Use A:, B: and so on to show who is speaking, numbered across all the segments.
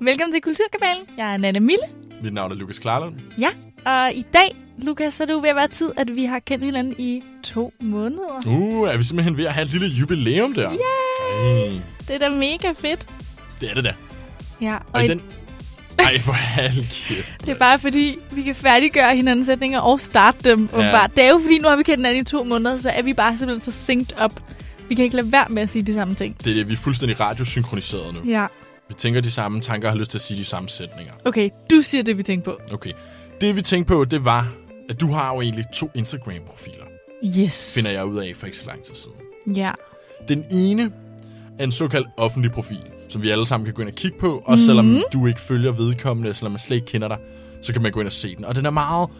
A: Velkommen til Kulturkabalen. Jeg er Nana Mille.
B: Mit navn er Lukas Klarlund.
A: Ja, og i dag, Lukas, så er det jo ved at være tid, at vi har kendt hinanden i to måneder.
B: Uh, er vi simpelthen ved at have et lille jubilæum der? Yeah. Ej,
A: Det er da mega fedt.
B: det er det da.
A: Ja, og,
B: Og i
A: i-
B: den... Ej, hvor halvkæft.
A: det er bare fordi, vi kan færdiggøre hinandens sætninger og starte dem. Ja. Det er jo fordi, nu har vi kendt hinanden i to måneder, så er vi bare simpelthen så synced op. Vi kan ikke lade være med at sige de samme ting.
B: Det er det, vi er fuldstændig radiosynkroniseret nu.
A: Ja.
B: Vi tænker de samme tanker og har lyst til at sige de samme sætninger.
A: Okay, du siger det, vi tænker på.
B: Okay. Det vi tænkte på, det var, at du har jo egentlig to Instagram-profiler.
A: Yes.
B: Finder jeg ud af for ikke så lang tid siden.
A: Ja.
B: Den ene er en såkaldt offentlig profil, som vi alle sammen kan gå ind og kigge på. Også selvom mm. du ikke følger vedkommende, selvom man slet ikke kender dig, så kan man gå ind og se den. Og den er meget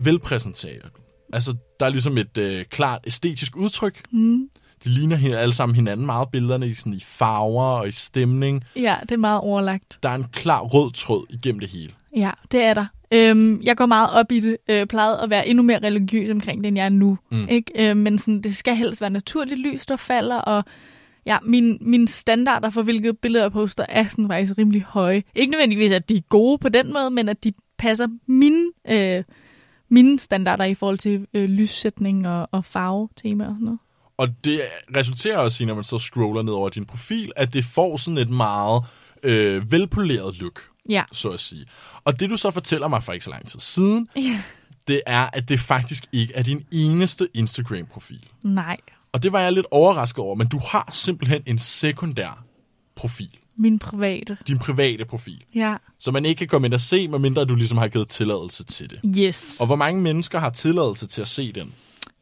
B: velpræsenteret. Altså, der er ligesom et øh, klart æstetisk udtryk. Mm. De ligner hin- alle sammen hinanden meget, billederne i, sådan, i farver og i stemning.
A: ja, det er meget overlagt.
B: Der er en klar rød tråd igennem det hele.
A: Ja, det er der. Øhm, jeg går meget op i det. Øh, plejede at være endnu mere religiøs omkring det, end jeg er nu. Mm. Ikke? Øh, men sådan, det skal helst være naturligt lys, der falder, og ja, min, mine standarder for, hvilke billeder jeg poster, er sådan faktisk rimelig høje. Ikke nødvendigvis, at de er gode på den måde, men at de passer mine, øh, mine standarder i forhold til øh, lyssætning og, og farvetema og sådan noget.
B: Og det resulterer også i, når man så scroller ned over din profil, at det får sådan et meget øh, velpoleret look.
A: Ja.
B: så at sige. Og det, du så fortæller mig for ikke så lang tid siden,
A: ja.
B: det er, at det faktisk ikke er din eneste Instagram-profil.
A: Nej.
B: Og det var jeg lidt overrasket over, men du har simpelthen en sekundær profil.
A: Min private.
B: Din private profil.
A: Ja.
B: Som man ikke kan komme ind og se, medmindre du ligesom har givet tilladelse til det.
A: Yes.
B: Og hvor mange mennesker har tilladelse til at se den?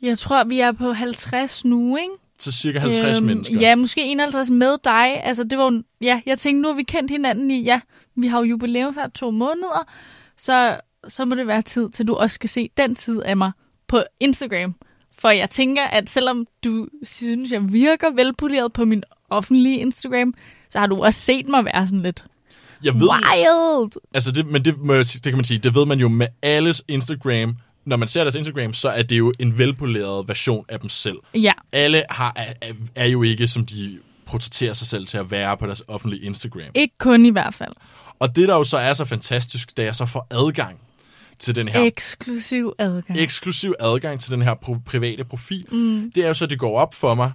A: Jeg tror, vi er på 50 nu, ikke?
B: Til cirka 50 øhm, mennesker.
A: Ja, måske 51 med dig. Altså, det var jo- ja, jeg tænkte, nu har vi kendt hinanden i, ja, vi har jo jubilæum for to måneder, så, så må det være tid til, du også skal se den tid af mig på Instagram. For jeg tænker, at selvom du synes, jeg virker velpoleret på min offentlige Instagram, så har du også set mig være sådan lidt
B: Jeg ved,
A: wild.
B: altså det, men det, må jeg, sige- det kan man sige, det ved man jo med alles Instagram. Når man ser deres Instagram, så er det jo en velpoleret version af dem selv.
A: Ja,
B: alle har, er, er- er jo ikke, som de portrætterer sig selv til at være på deres offentlige Instagram.
A: ikke kun i hvert fald.
B: Og det, der jo så er så fantastisk, det er så får adgang til den her
A: Eksklusiv adgang.
B: eksklusiv adgang til den her pro- private profil, mm. det er jo så, at det går op for mig,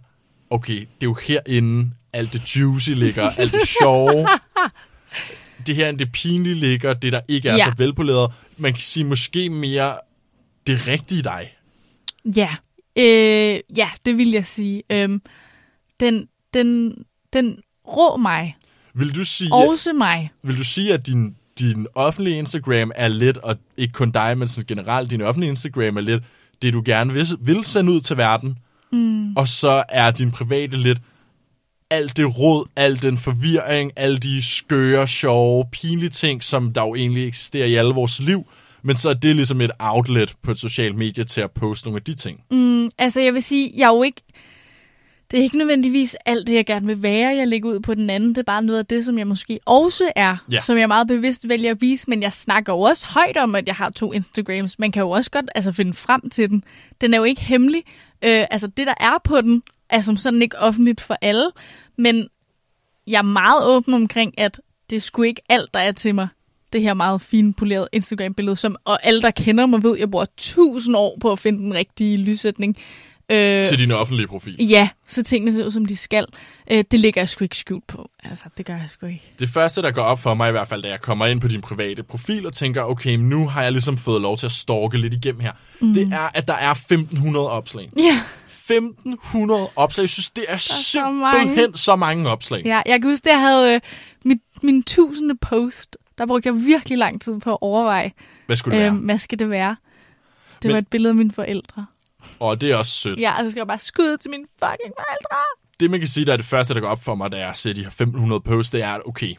B: okay, det er jo herinde, alt det juicy ligger, alt det sjove, det her det pinlige ligger, det der ikke er
A: Ja.
B: ja. så velpoleret, man kan sige måske mere det rigtige dig.
A: Ja, øh, ja det vil jeg sige. Øhm, den, den, den rå mig,
B: Vil du sige,
A: yeah. også mig.
B: Vil du sige, at din, din offentlige Instagram er lidt, og ikke kun dig, men sådan generelt din offentlige Instagram er lidt det, du gerne vil, vil sende ud til verden, mm. og så er din private lidt alt det råd, al den forvirring, alle de skøre, sjove, pinlige ting, som der jo egentlig eksisterer i alle vores liv, men så er det ligesom et outlet på et socialt medie til at poste nogle af de ting. Mm.
A: Altså, jeg vil sige, jeg er jo ikke... Det er ikke nødvendigvis alt det, jeg gerne vil være, jeg lægger ud på den anden. Det er bare noget af det, som jeg måske også er,
B: Ja.
A: som jeg meget bevidst vælger at vise. Men jeg snakker jo også højt om, at jeg har to Instagrams. Man kan jo også godt altså, finde frem til den. Den er jo ikke hemmelig. Øh, altså, det, der er på den, er som sådan ikke offentligt for alle. Men jeg er meget åben omkring, at det skulle ikke alt, der er til mig. Det her meget finpolerede Instagram-billede, som og alle, der kender mig, ved, jeg bruger tusind år på at finde den rigtige lyssætning. Øh,
B: Til din offentlige profil.
A: ja, så tingene ser ud, som de skal. Øh, det ligger jeg sgu ikke skjult på. Altså, det gør jeg sgu ikke.
B: Det første, der går op for mig i hvert fald, da jeg kommer ind på din private profil og tænker, okay, men nu har jeg ligesom fået lov til at stalke lidt igennem her,
A: Mhm.
B: mm. det er, at der er 1.500 opslag.
A: Ja,
B: 1.500 opslag. Jeg synes, det er, er
A: så mange.
B: simpelthen så, så mange opslag.
A: ja jeg kan huske, at jeg havde øh, mit, min tusinde post. Der brugte jeg virkelig lang tid på at overveje,
B: Hvad skulle det
A: øh,
B: øhm. være?
A: hvad skal det være? Det
B: Men-
A: var et billede af mine forældre.
B: Og det er også sødt. Ja.
A: Ja, og så skal jeg bare skyde til mine fucking forældre.
B: Det, man kan sige, der er det første, der går op for mig, da jeg ser de her 1.500 posts, det er, at okay,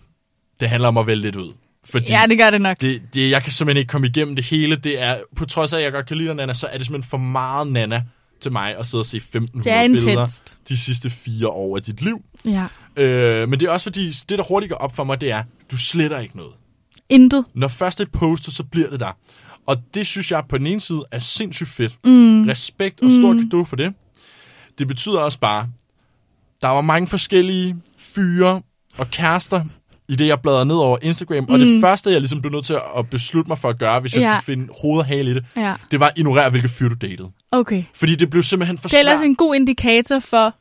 B: det handler om at vælge lidt ud. Fordi
A: Ja, det gør det nok.
B: det, det, jeg kan simpelthen ikke komme igennem det hele. Det er, på trods af, at jeg godt kan lide dig, Nana, så er det simpelthen for meget Nana til mig at sidde og se 1.500
A: Det er
B: billeder
A: intenst.
B: de sidste fire år af dit liv.
A: Ja.
B: Øh, men det er også fordi, det der hurtigt går op for mig, det er, du sletter ikke noget.
A: Intet.
B: Når først det er postet, så bliver det der. Og det synes jeg på den ene side er sindssygt fedt. Mm. Respekt og stor mm. kado for det. Det betyder også bare, der var mange forskellige fyre og kærester i det, jeg bladrer ned over Instagram. Og det første, jeg ligesom blev nødt til at beslutte mig for at gøre, hvis jeg
A: Mm. Ja.
B: skulle finde hoved og hale i det,
A: Ja.
B: det var at ignorere, hvilke fyre du datede.
A: Okay.
B: Fordi det blev simpelthen for
A: Det er ellers
B: svært,
A: en god indikator for,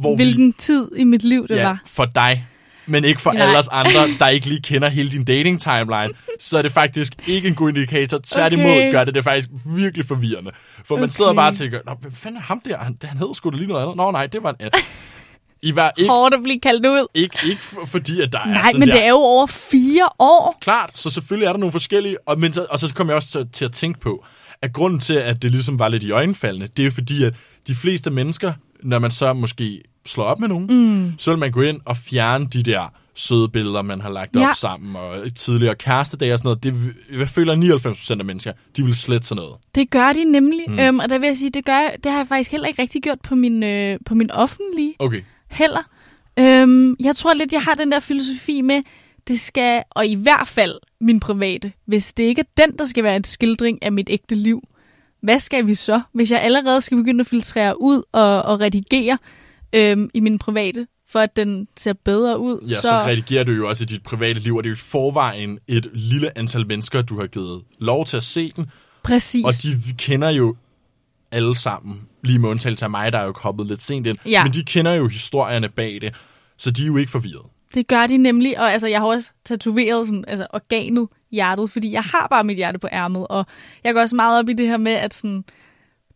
B: hvor vi-
A: hvilken tid i mit liv det
B: ja,
A: var.
B: for dig, men ikke for
A: Nej.
B: alle os andre, der ikke lige kender hele din dating-timeline, så er det faktisk ikke en god indikator. Tværtimod
A: Okay.
B: gør det det faktisk virkelig forvirrende. For man
A: Okay.
B: sidder bare og tænker, Nå, hvad fanden er ham der? Han, han hed sgu da lige noget andet. Nå nej, det var en anden. I var ikke,
A: Hårdt at blive kaldt ud.
B: ikke, ikke for, fordi, at der er
A: Nej,
B: sådan
A: men
B: der.
A: det er jo over fire år.
B: Klart, så selvfølgelig er der nogle forskellige, og, men så, og så kom jeg også til, til at tænke på, at grunden til, at det ligesom var lidt i øjenfaldende, det er jo fordi, at de fleste mennesker, når man så måske slår op med nogen, mm. så vil man gå ind og fjerne de der søde billeder, man har lagt ja.
A: Ja.
B: op sammen, og tidligere kærestedage og sådan noget. Det, vil- jeg føler, 99% af mennesker, de vil slette sådan noget.
A: Det gør de nemlig, mm. øhm, og der vil jeg sige, det, gør, jeg- det har jeg faktisk heller ikke rigtig gjort på min, øh, på min offentlige
B: Okay.
A: heller. Øhm, jeg tror lidt, jeg har den der filosofi med, det skal, og i hvert fald min private, hvis det ikke er den, der skal være en skildring af mit ægte liv, hvad skal vi så, hvis jeg allerede skal begynde at filtrere ud og, og redigere øhm, i min private, for at den ser bedre ud?
B: Ja, så, så redigerer du jo også i dit private liv, og det er jo i forvejen et lille antal mennesker, du har givet lov til at se den,
A: præcis.
B: Og de kender jo alle sammen, lige med undtagelse af mig, der er jo kommet lidt sent ind,
A: Ja.
B: men de kender jo historierne bag det, så de er jo ikke forvirret.
A: Det gør de nemlig, og altså, jeg har også tatoveret sådan, altså, organet, hjertet, fordi jeg har bare mit hjerte på ærmet, og jeg går også meget op i det her med, at sådan,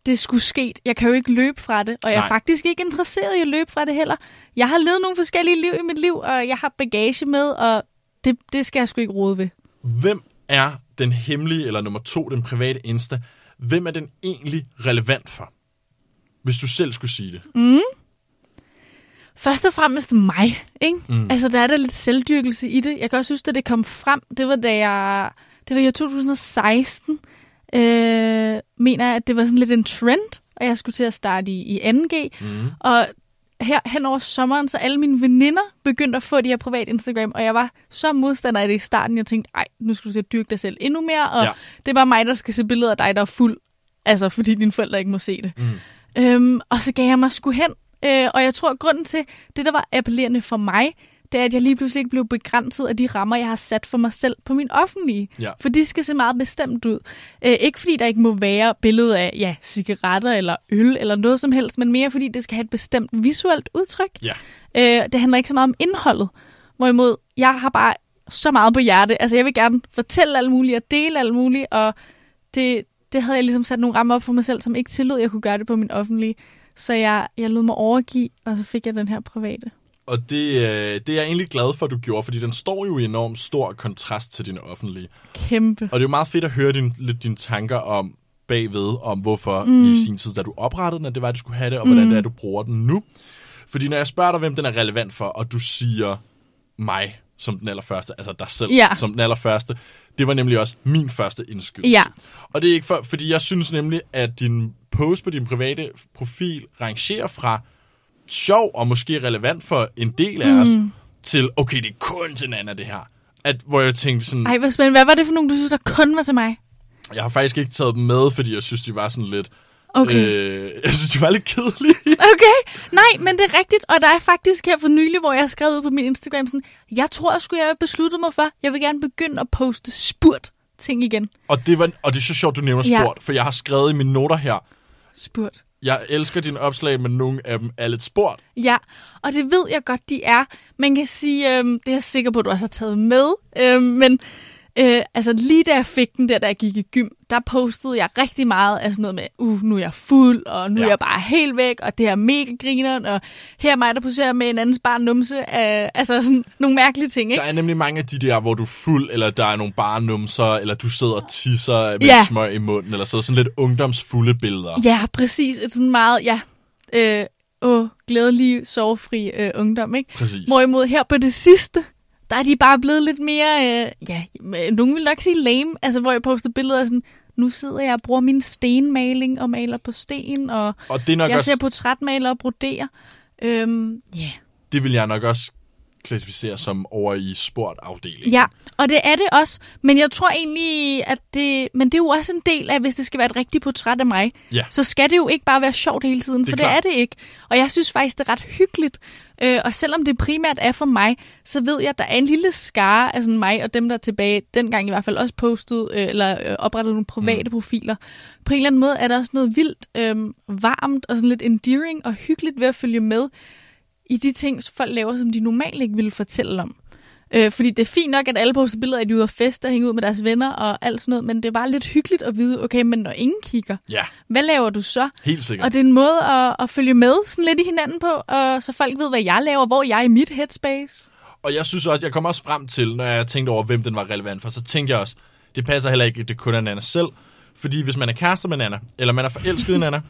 A: det skulle ske. Jeg kan jo ikke løbe fra det, og jeg
B: Nej.
A: er faktisk ikke interesseret i at løbe fra det heller. Jeg har levet nogle forskellige liv i mit liv, og jeg har bagage med, og det, det skal jeg sgu ikke rode ved.
B: Hvem er den hemmelige, eller nummer to, den private Insta, hvem er den egentlig relevant for? Hvis du selv skulle sige det. Mm.
A: Først og fremmest mig, ikke? Mm. Altså, der er der lidt selvdyrkelse i det. Jeg kan også huske, at det kom frem, det var da jeg... Det var i år 2016, øh, mener jeg, at det var sådan lidt en trend, og jeg skulle til at starte i, i 2G. Mm. Og her hen over sommeren, så alle mine veninder begyndte at få de her privat Instagram, og jeg var så modstander af det i starten. Jeg tænkte, ej, nu skal du til at dyrke dig selv endnu mere, og
B: Ja.
A: ja. det er bare mig, der skal se billeder af dig, der er fuld. Altså, fordi dine forældre ikke må se det. Mm. Øhm, og så gav jeg mig sgu hen, øh, og jeg tror, at grunden til det, der var appellerende for mig, det er, at jeg lige pludselig ikke blev begrænset af de rammer, jeg har sat for mig selv på min offentlige.
B: Ja.
A: For de skal se meget bestemt ud. Øh, ikke fordi der ikke må være billede af ja, cigaretter eller øl eller noget som helst, men mere fordi det skal have et bestemt visuelt udtryk.
B: Ja.
A: Øh, det handler ikke så meget om indholdet. Hvorimod, jeg har bare så meget på hjerte. Altså, jeg vil gerne fortælle alt muligt og dele alt muligt, og det, det havde jeg ligesom sat nogle rammer op for mig selv, som ikke tillod, at jeg kunne gøre det på min offentlige. Så jeg, jeg lod mig overgive, og så fik jeg den her private.
B: Og det, øh, det er jeg egentlig glad for, at du gjorde, fordi den står jo i enormt stor kontrast til din offentlige.
A: Kæmpe.
B: Og det er jo meget fedt at høre din, lidt dine tanker om bagved, om hvorfor mm. i sin tid, da du oprettede den, at det var, at du skulle have det, og hvordan det er, du bruger den nu. Fordi når jeg spørger dig, hvem den er relevant for, og du siger mig som den allerførste, altså dig selv
A: Ja.
B: som den allerførste, det var nemlig også min første indskydelse.
A: Ja.
B: Og det er ikke for, fordi jeg synes nemlig, at din post på din private profil rangerer fra sjov og måske relevant for en del af mm. os, til, okay, det er kun til Nana, det her. At, hvor jeg tænkte sådan,
A: Ej, hvor spændende. Hvad var det for nogen, du synes, der kun var til mig?
B: jeg har faktisk ikke taget dem med, fordi jeg synes, de var sådan lidt...
A: Okay.
B: Øh, jeg synes, de var lidt kedelige.
A: Okay, nej, men det er rigtigt, og der er faktisk her for nylig, hvor jeg har skrevet ud på min Instagram, sådan, jeg tror sgu, jeg har besluttet mig for, jeg vil gerne begynde at poste spurt ting igen.
B: og, det var, og det er så sjovt, du nævner
A: Ja.
B: sport, for jeg har skrevet i mine noter her,
A: Spurt.
B: jeg elsker dine opslag, men nogle af dem er lidt sport.
A: Ja, og det ved jeg godt, de er. Man kan sige, øhm, det er jeg sikker på, at du også har taget med, øhm, men øh, altså lige da jeg fik den der, da jeg gik i gym, der postede jeg rigtig meget af sådan noget med, uh, nu er jeg fuld, og nu ja.
B: Ja.
A: er jeg bare helt væk, og det er mega grineren, og her er mig, der poserer med en andens bare numse, øh, altså sådan nogle mærkelige ting,
B: Der
A: ikke?
B: er nemlig mange af de der, hvor du er fuld, eller der er nogle bare numser, eller du sidder og tisser med
A: Ja.
B: ja. smør i munden, eller så sådan lidt ungdomsfulde billeder.
A: Ja, præcis. Et sådan meget, ja, øh, åh, glædelig, sovefri øh, ungdom, ikke?
B: Præcis.
A: Hvorimod her på det sidste, der er de bare blevet lidt mere, øh, ja, øh, nogen vil nok sige lame, altså hvor jeg poster billeder af sådan, nu sidder jeg og bruger min stenmaling og maler på sten, og
B: Og det, er nok
A: jeg ser
B: også,
A: portrætmaler og broderer. Øhm, yeah.
B: det vil jeg nok også klassificere som over i sportafdelingen.
A: Ja, og det er det også, men jeg tror egentlig, at det, men det er jo også en del af, hvis det skal være et rigtigt portræt af mig,
B: Ja.
A: så skal det jo ikke bare være sjovt hele tiden,
B: er
A: for det
B: klart.
A: er det ikke. Og jeg synes faktisk, det er ret hyggeligt Øh, og selvom det primært er for mig, så ved jeg, at der er en lille skare af sådan mig og dem, der er tilbage dengang i hvert fald også postede øh, eller øh, oprettede nogle private mm. profiler. På en eller anden måde er der også noget vildt øh, varmt og sådan lidt endearing og hyggeligt ved at følge med i de ting, som folk laver, som de normalt ikke ville fortælle om. Øh, fordi det er fint nok, at alle poster billeder, at de er ude og feste og hænge ud med deres venner og alt sådan noget, men det er bare lidt hyggeligt at vide, okay, men når ingen kigger,
B: Ja,
A: hvad laver du så?
B: helt sikkert.
A: Og det er en måde at, at følge med sådan lidt i hinanden på, og så folk ved, hvad jeg laver, hvor jeg er i mit headspace.
B: Og jeg synes også, jeg kom også frem til, når jeg tænkte over, hvem den var relevant for, så tænkte jeg også, det passer heller ikke, at det kun er Nana selv. Fordi hvis man er kærester med Nana, eller man er forelsket i Nana,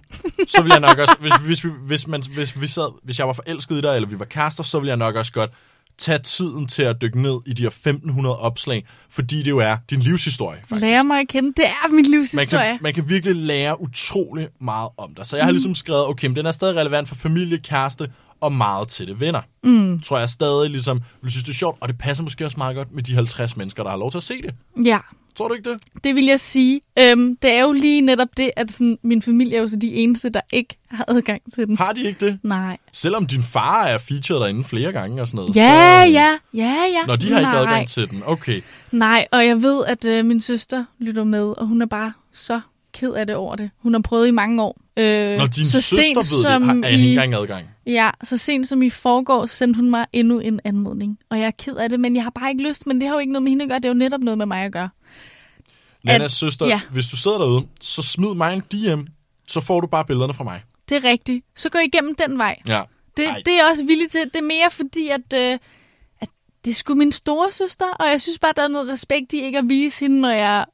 B: så vil jeg nok også, hvis, hvis, vi- hvis, man, hvis, vi sad, hvis jeg var forelsket i dig, eller vi var kærester, så vil jeg nok også godt tage tiden til at dykke ned i de her 1500 opslag, fordi det jo er din livshistorie, faktisk.
A: Lærer mig at kende. Det er min
B: man
A: livshistorie.
B: kan, man kan virkelig lære utrolig meget om dig. Så jeg har ligesom
A: Mm.
B: skrevet, okay, men den er stadig relevant for familie, kæreste og meget tætte venner. Mm. Tror jeg stadig ligesom, vil synes det er sjovt, og det passer måske også meget godt med de 50 mennesker, der har lov til at se det.
A: Ja,
B: Tror du ikke det?
A: det vil jeg sige. Øhm, det er jo lige netop det, at sådan, min familie er jo så de eneste, der ikke har adgang til den.
B: Har de ikke det?
A: Nej.
B: Selvom din far er featured derinde flere gange og sådan noget.
A: Ja,
B: så, øh,
A: ja, ja, ja.
B: Når de har ikke
A: Nej.
B: adgang til den, okay.
A: Nej, og jeg ved, at øh, min søster lytter med, og hun er bare så ked af det over det. Hun har prøvet i mange år. Øh,
B: Når din så søster ved det, har er ikke engang adgang.
A: Ja, så sent som i forgårs sendte hun mig endnu en anmodning. Og jeg er ked af det, men jeg har bare ikke lyst. Men det har jo ikke noget med hende at gøre. Det er jo netop noget med mig at gøre.
B: Nannas søster,
A: ja.
B: hvis du sidder derude, så smid mig en DM, så får du bare billederne fra mig.
A: Det er rigtigt. Så gå igennem den vej.
B: Ja.
A: Det,
B: Ej.
A: det er jeg også villig til. Det er mere fordi, at, øh, at det er sgu min store søster. Og jeg synes bare, der er noget respekt i ikke at vise hende, når jeg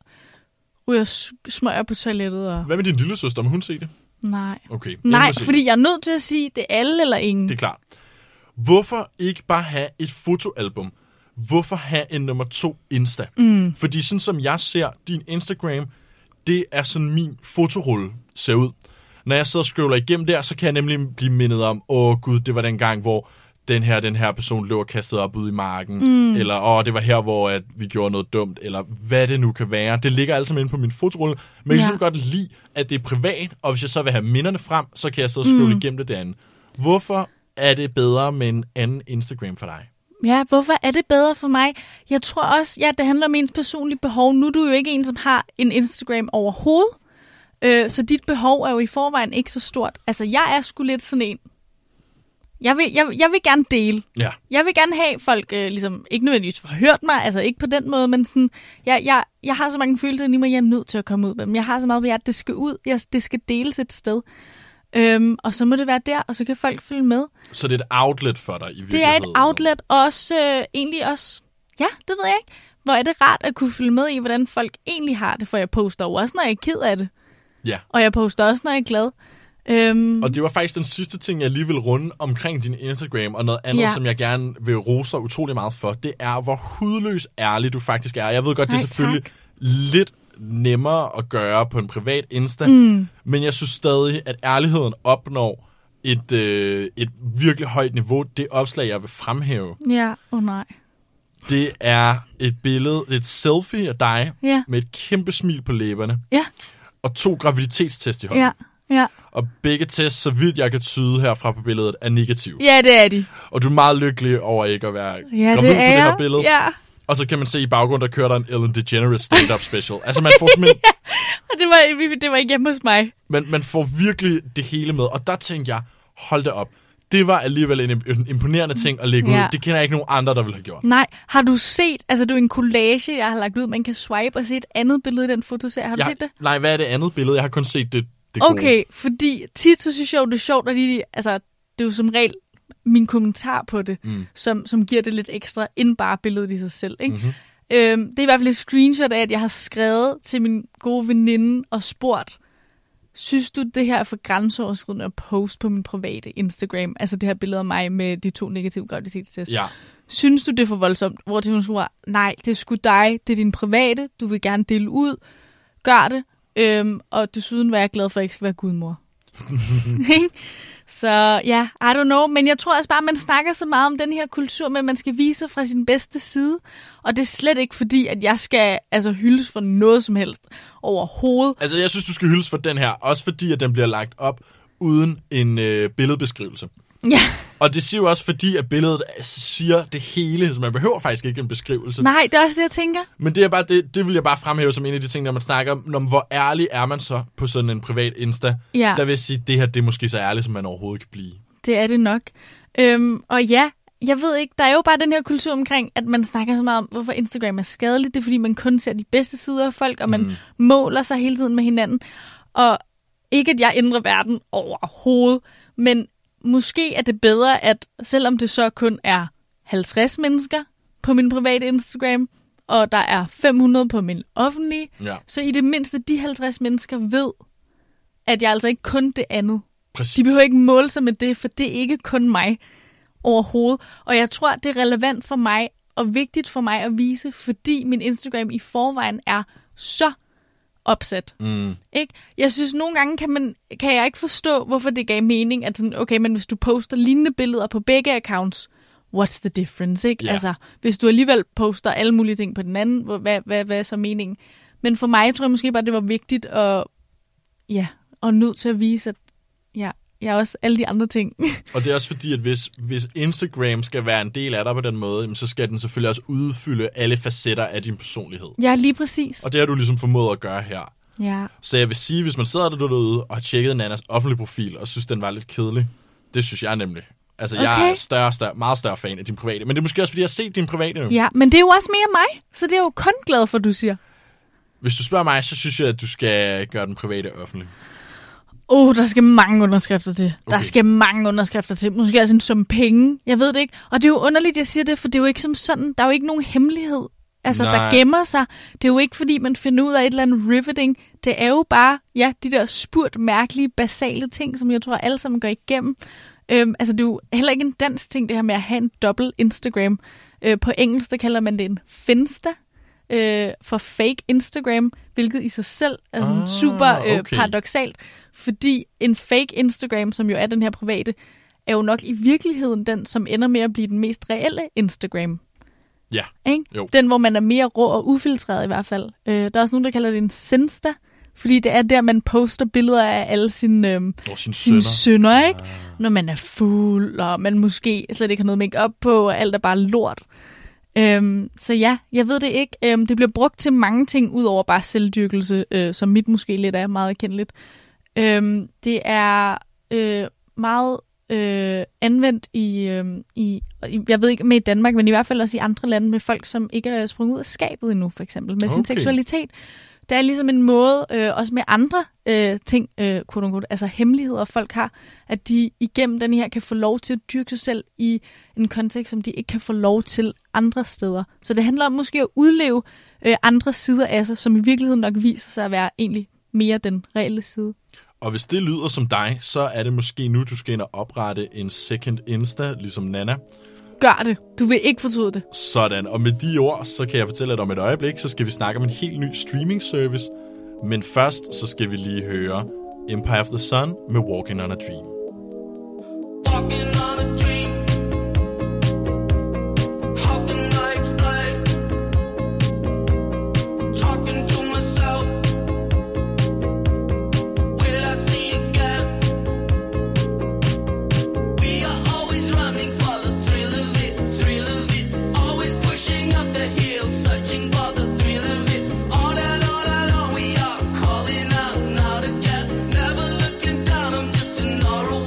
A: ryger s- smøger på toilettet. Og...
B: Hvad med din lille søster? Må hun se det?
A: Nej.
B: Okay. jeg
A: Nej,
B: vil se det.
A: fordi jeg er nødt til at sige, det er alle eller ingen.
B: Det er klart. Hvorfor ikke bare have et fotoalbum? Hvorfor have en nummer to Insta? Mm. Fordi sådan som jeg ser din Instagram, det er sådan min fotorulle ser ud. Når jeg sidder og scroller igennem der, så kan jeg nemlig blive mindet om, åh gud, det var den gang, hvor den her den her person lå og kastede op ude i marken, mm. eller åh, det var her, hvor at vi gjorde noget dumt, eller hvad det nu kan være. Det ligger alt sammen inde på min fotorulle, men jeg kan
A: Ja.
B: simpelthen godt lide, at det er privat, og hvis jeg så vil have minderne frem, så kan jeg sidde og scrolle mm. igennem det derinde. Hvorfor er det bedre med en anden Instagram for dig?
A: Ja, hvorfor er det bedre for mig? Jeg tror også, ja, det handler om ens personlige behov. Nu er du jo ikke en, som har en Instagram overhovedet, øh, så dit behov er jo i forvejen ikke så stort. Altså, jeg er sgu lidt sådan en. Jeg vil, jeg, jeg vil gerne dele.
B: Ja.
A: Jeg vil gerne have folk, øh, ligesom, ikke nødvendigvis har hørt mig, altså ikke på den måde, men sådan, jeg, jeg, jeg har så mange følelser inde i mig, jeg er nødt til at komme ud med dem. Jeg har så meget på hjertet, det skal ud, jeg, det skal deles et sted. Øhm, og så må det være der, og så kan folk følge med.
B: Så det er et outlet for dig i
A: Det er et
B: virkeligheden.
A: outlet, og også øh, egentlig også, ja, det ved jeg ikke. Hvor er det rart at kunne følge med i, hvordan folk egentlig har det, for jeg poster jo også, når jeg er ked af det.
B: Ja.
A: Og jeg poster også, når jeg er glad. Øhm,
B: Og det var faktisk den sidste ting, jeg lige vil runde omkring din Instagram, og noget andet, ja.
A: Ja.
B: som jeg gerne vil rose dig utrolig meget for, det er, hvor hudløs ærlig du faktisk er. Jeg ved godt, det er
A: Ej,
B: selvfølgelig
A: tak.
B: lidt nemmere at gøre på en privat Insta, mm. men jeg synes stadig, at ærligheden opnår et, øh, et virkelig højt niveau. Det opslag, jeg vil fremhæve,
A: ja, åh oh, nej.
B: det er et billede, et selfie af dig
A: Ja.
B: med et kæmpe smil på læberne
A: Ja,
B: og to graviditetstest i hånden.
A: ja, ja.
B: Og begge tests, så vidt jeg kan tyde herfra på billedet, er negative.
A: Ja, det er de.
B: Og du er meget lykkelig over ikke at være
A: Ja,
B: gravid
A: det
B: på
A: er
B: det her
A: jeg.
B: billede.
A: Ja,
B: Og så kan man se i baggrunden, der kører der en Ellen DeGeneres stand-up special. altså man får, simpelthen,
A: og det var, det var ikke hjemme hos mig.
B: man, man får virkelig det hele med. Og der tænkte jeg, hold da op. Det var alligevel en, im- en imponerende ting at lægge
A: Mm. Ja.
B: ud. Det kender jeg ikke nogen andre, der ville have gjort.
A: Nej, har du set, altså det er jo en collage, jeg har lagt ud, man kan swipe og se et andet billede i den fotoserie. Har du
B: jeg,
A: set det?
B: Nej, hvad er det andet billede? Jeg har kun set det, det gode.
A: Okay, fordi tit så synes jeg jo, det er sjovt, at lige, altså, det er jo som regel min kommentar på det,
B: Mm. Mhm.
A: mm. som, som giver det lidt ekstra, end bare billedet i sig selv. Ikke? Mm-hmm. Øhm, det er i hvert fald et screenshot af, at jeg har skrevet til min gode veninde og spurgt, synes du, det her er for grænseoverskridende at poste på min private Instagram? Altså det her billede af mig med de to negative graviditetstest.
B: Ja.
A: Synes du, det er for voldsomt? Hvor til hun svarer, nej, det er sgu dig, det er din private, du vil gerne dele ud, gør det. Øhm, og desuden var jeg glad for, at jeg ikke skal være gudmor. Ikke? så ja, I don't know, men jeg tror også bare, at man snakker så meget om den her kultur med, at man skal vise sig fra sin bedste side. Og det er slet ikke fordi, at jeg skal altså, hyldes for noget som helst overhovedet.
B: Altså, jeg synes, du skal hyldes for den her. Også fordi, at den bliver lagt op uden en øh, billedbeskrivelse.
A: Ja.
B: Og det siger jo også, fordi at billedet siger det hele, så man behøver faktisk ikke en beskrivelse.
A: Nej, det er også det, jeg tænker.
B: Men det, er bare, det, det vil jeg bare fremhæve som en af de ting, når man snakker om, om, hvor ærlig er man så på sådan en privat Insta.
A: Ja.
B: Der vil jeg sige, det her det er måske så ærligt, som man overhovedet kan blive.
A: Det er det nok. Øhm, og ja, jeg ved ikke, der er jo bare den her kultur omkring, at man snakker så meget om, hvorfor Instagram er skadeligt. Det er, fordi man kun ser de bedste sider af folk, og man mm. måler sig hele tiden med hinanden. Og ikke, at jeg ændrer verden overhovedet, men måske er det bedre, at selvom det så kun er 50 mennesker på min private Instagram, og der er 500 på min offentlige,
B: Ja,
A: så i det mindste de 50 mennesker ved, at jeg altså ikke kun det andet.
B: præcis.
A: De behøver ikke måle sig med det, for det er ikke kun mig overhovedet. Og jeg tror, det er relevant for mig og vigtigt for mig at vise, fordi min Instagram i forvejen er så opsat.
B: Mm,
A: Ikke? Jeg synes, nogle gange kan, man, kan jeg ikke forstå, hvorfor det gav mening, at sådan, okay, men hvis du poster lignende billeder på begge accounts, what's the difference, ikke?
B: Ja.
A: Altså, hvis du alligevel poster alle mulige ting på den anden, hvor- hvad, hvad, hvad er så meningen? Men for mig tror jeg måske bare, det var vigtigt at, ja, og nødt til at vise, at ja, jeg er også alle de andre ting.
B: og det er også fordi, at hvis, hvis Instagram skal være en del af dig på den måde, jamen, så skal den selvfølgelig også udfylde alle facetter af din personlighed.
A: ja, lige præcis.
B: Og det har du ligesom formået at gøre her.
A: Ja.
B: Så jeg vil sige, hvis man sidder der derude og har tjekket Nannas offentlige profil og synes, den var lidt kedelig, det synes jeg nemlig. Altså, okay. jeg
A: Okay.
B: er større, større, meget større fan af din private. Men det er måske også, fordi jeg har set din private nu.
A: ja, men det er jo også mere mig, så det er jeg jo kun glad for, du siger.
B: Hvis du spørger mig, så synes jeg, at du skal gøre den private offentlig.
A: Åh, oh, der skal mange underskrifter til. Okay.
B: Okay.
A: Der skal mange underskrifter til. Måske også en sum penge. Jeg ved det ikke. Og det er jo underligt, jeg siger det, for det er jo ikke som sådan. Der er jo ikke nogen hemmelighed, altså,
B: Nej.
A: der gemmer sig. Det er jo ikke, fordi man finder ud af et eller andet riveting. Det er jo bare, ja, de der spurt mærkelige, basale ting, som jeg tror, alle sammen går igennem. Øhm, altså, det er jo heller ikke en dansk ting, det her med at have en dobbelt Instagram. Øh, på engelsk, der kalder man det en finsta øh, for fake Instagram, hvilket i sig selv er sådan
B: Ah,
A: ah, super øh,
B: okay.
A: okay. paradoxalt, fordi en fake Instagram, som jo er den her private, er jo nok i virkeligheden den, som ender med at blive den mest reelle Instagram.
B: Ja.
A: Ikke?
B: Jo.
A: Den, hvor man er mere rå og ufiltreret i hvert fald. Øh, der er også nogen, der kalder det en sensta, fordi det er der, man poster billeder af alle sine, øh,
B: Og sin sønner.
A: sine synder, ikke? Når man er fuld, og man måske slet ikke har noget make op på, og alt er bare lort. Øhm, så ja, jeg ved det ikke. Øhm, det bliver brugt til mange ting, ud over bare selvdyrkelse, øh, som mit måske lidt er meget kendeligt. Øhm, det er øh, meget øh, anvendt i, øh, i, i, jeg ved ikke med i Danmark, men i hvert fald også i andre lande med folk, som ikke er sprunget ud af skabet endnu, for eksempel, med okay. sin
B: Okay.
A: seksualitet. Der er ligesom en måde, øh, også med andre øh, ting, øh, quote unquote, altså hemmeligheder, folk har, at de igennem den her kan få lov til at dyrke sig selv i en kontekst, som de ikke kan få lov til andre steder. Så det handler om måske at udleve øh, andre sider af sig, som i virkeligheden nok viser sig at være egentlig mere den reelle side.
B: Og hvis det lyder som dig, så er det måske nu, du skal ind og oprette en second Insta, ligesom Nana.
A: Gør det. Du vil ikke fortryde det.
B: Sådan, og med de ord, så kan jeg fortælle, at om et øjeblik, så skal vi snakke om en helt ny streaming service. Men først, så skal vi lige høre Empire of the Sun med Walking on a Dream.
C: Walking on a dream. How can I explain? Talking to myself. Will I see again? We are always running for the thrill of it, thrill of it. Always pushing up the hill, searching for the thrill of it. All and all along we are calling out, not again. Never looking down, I'm just an oral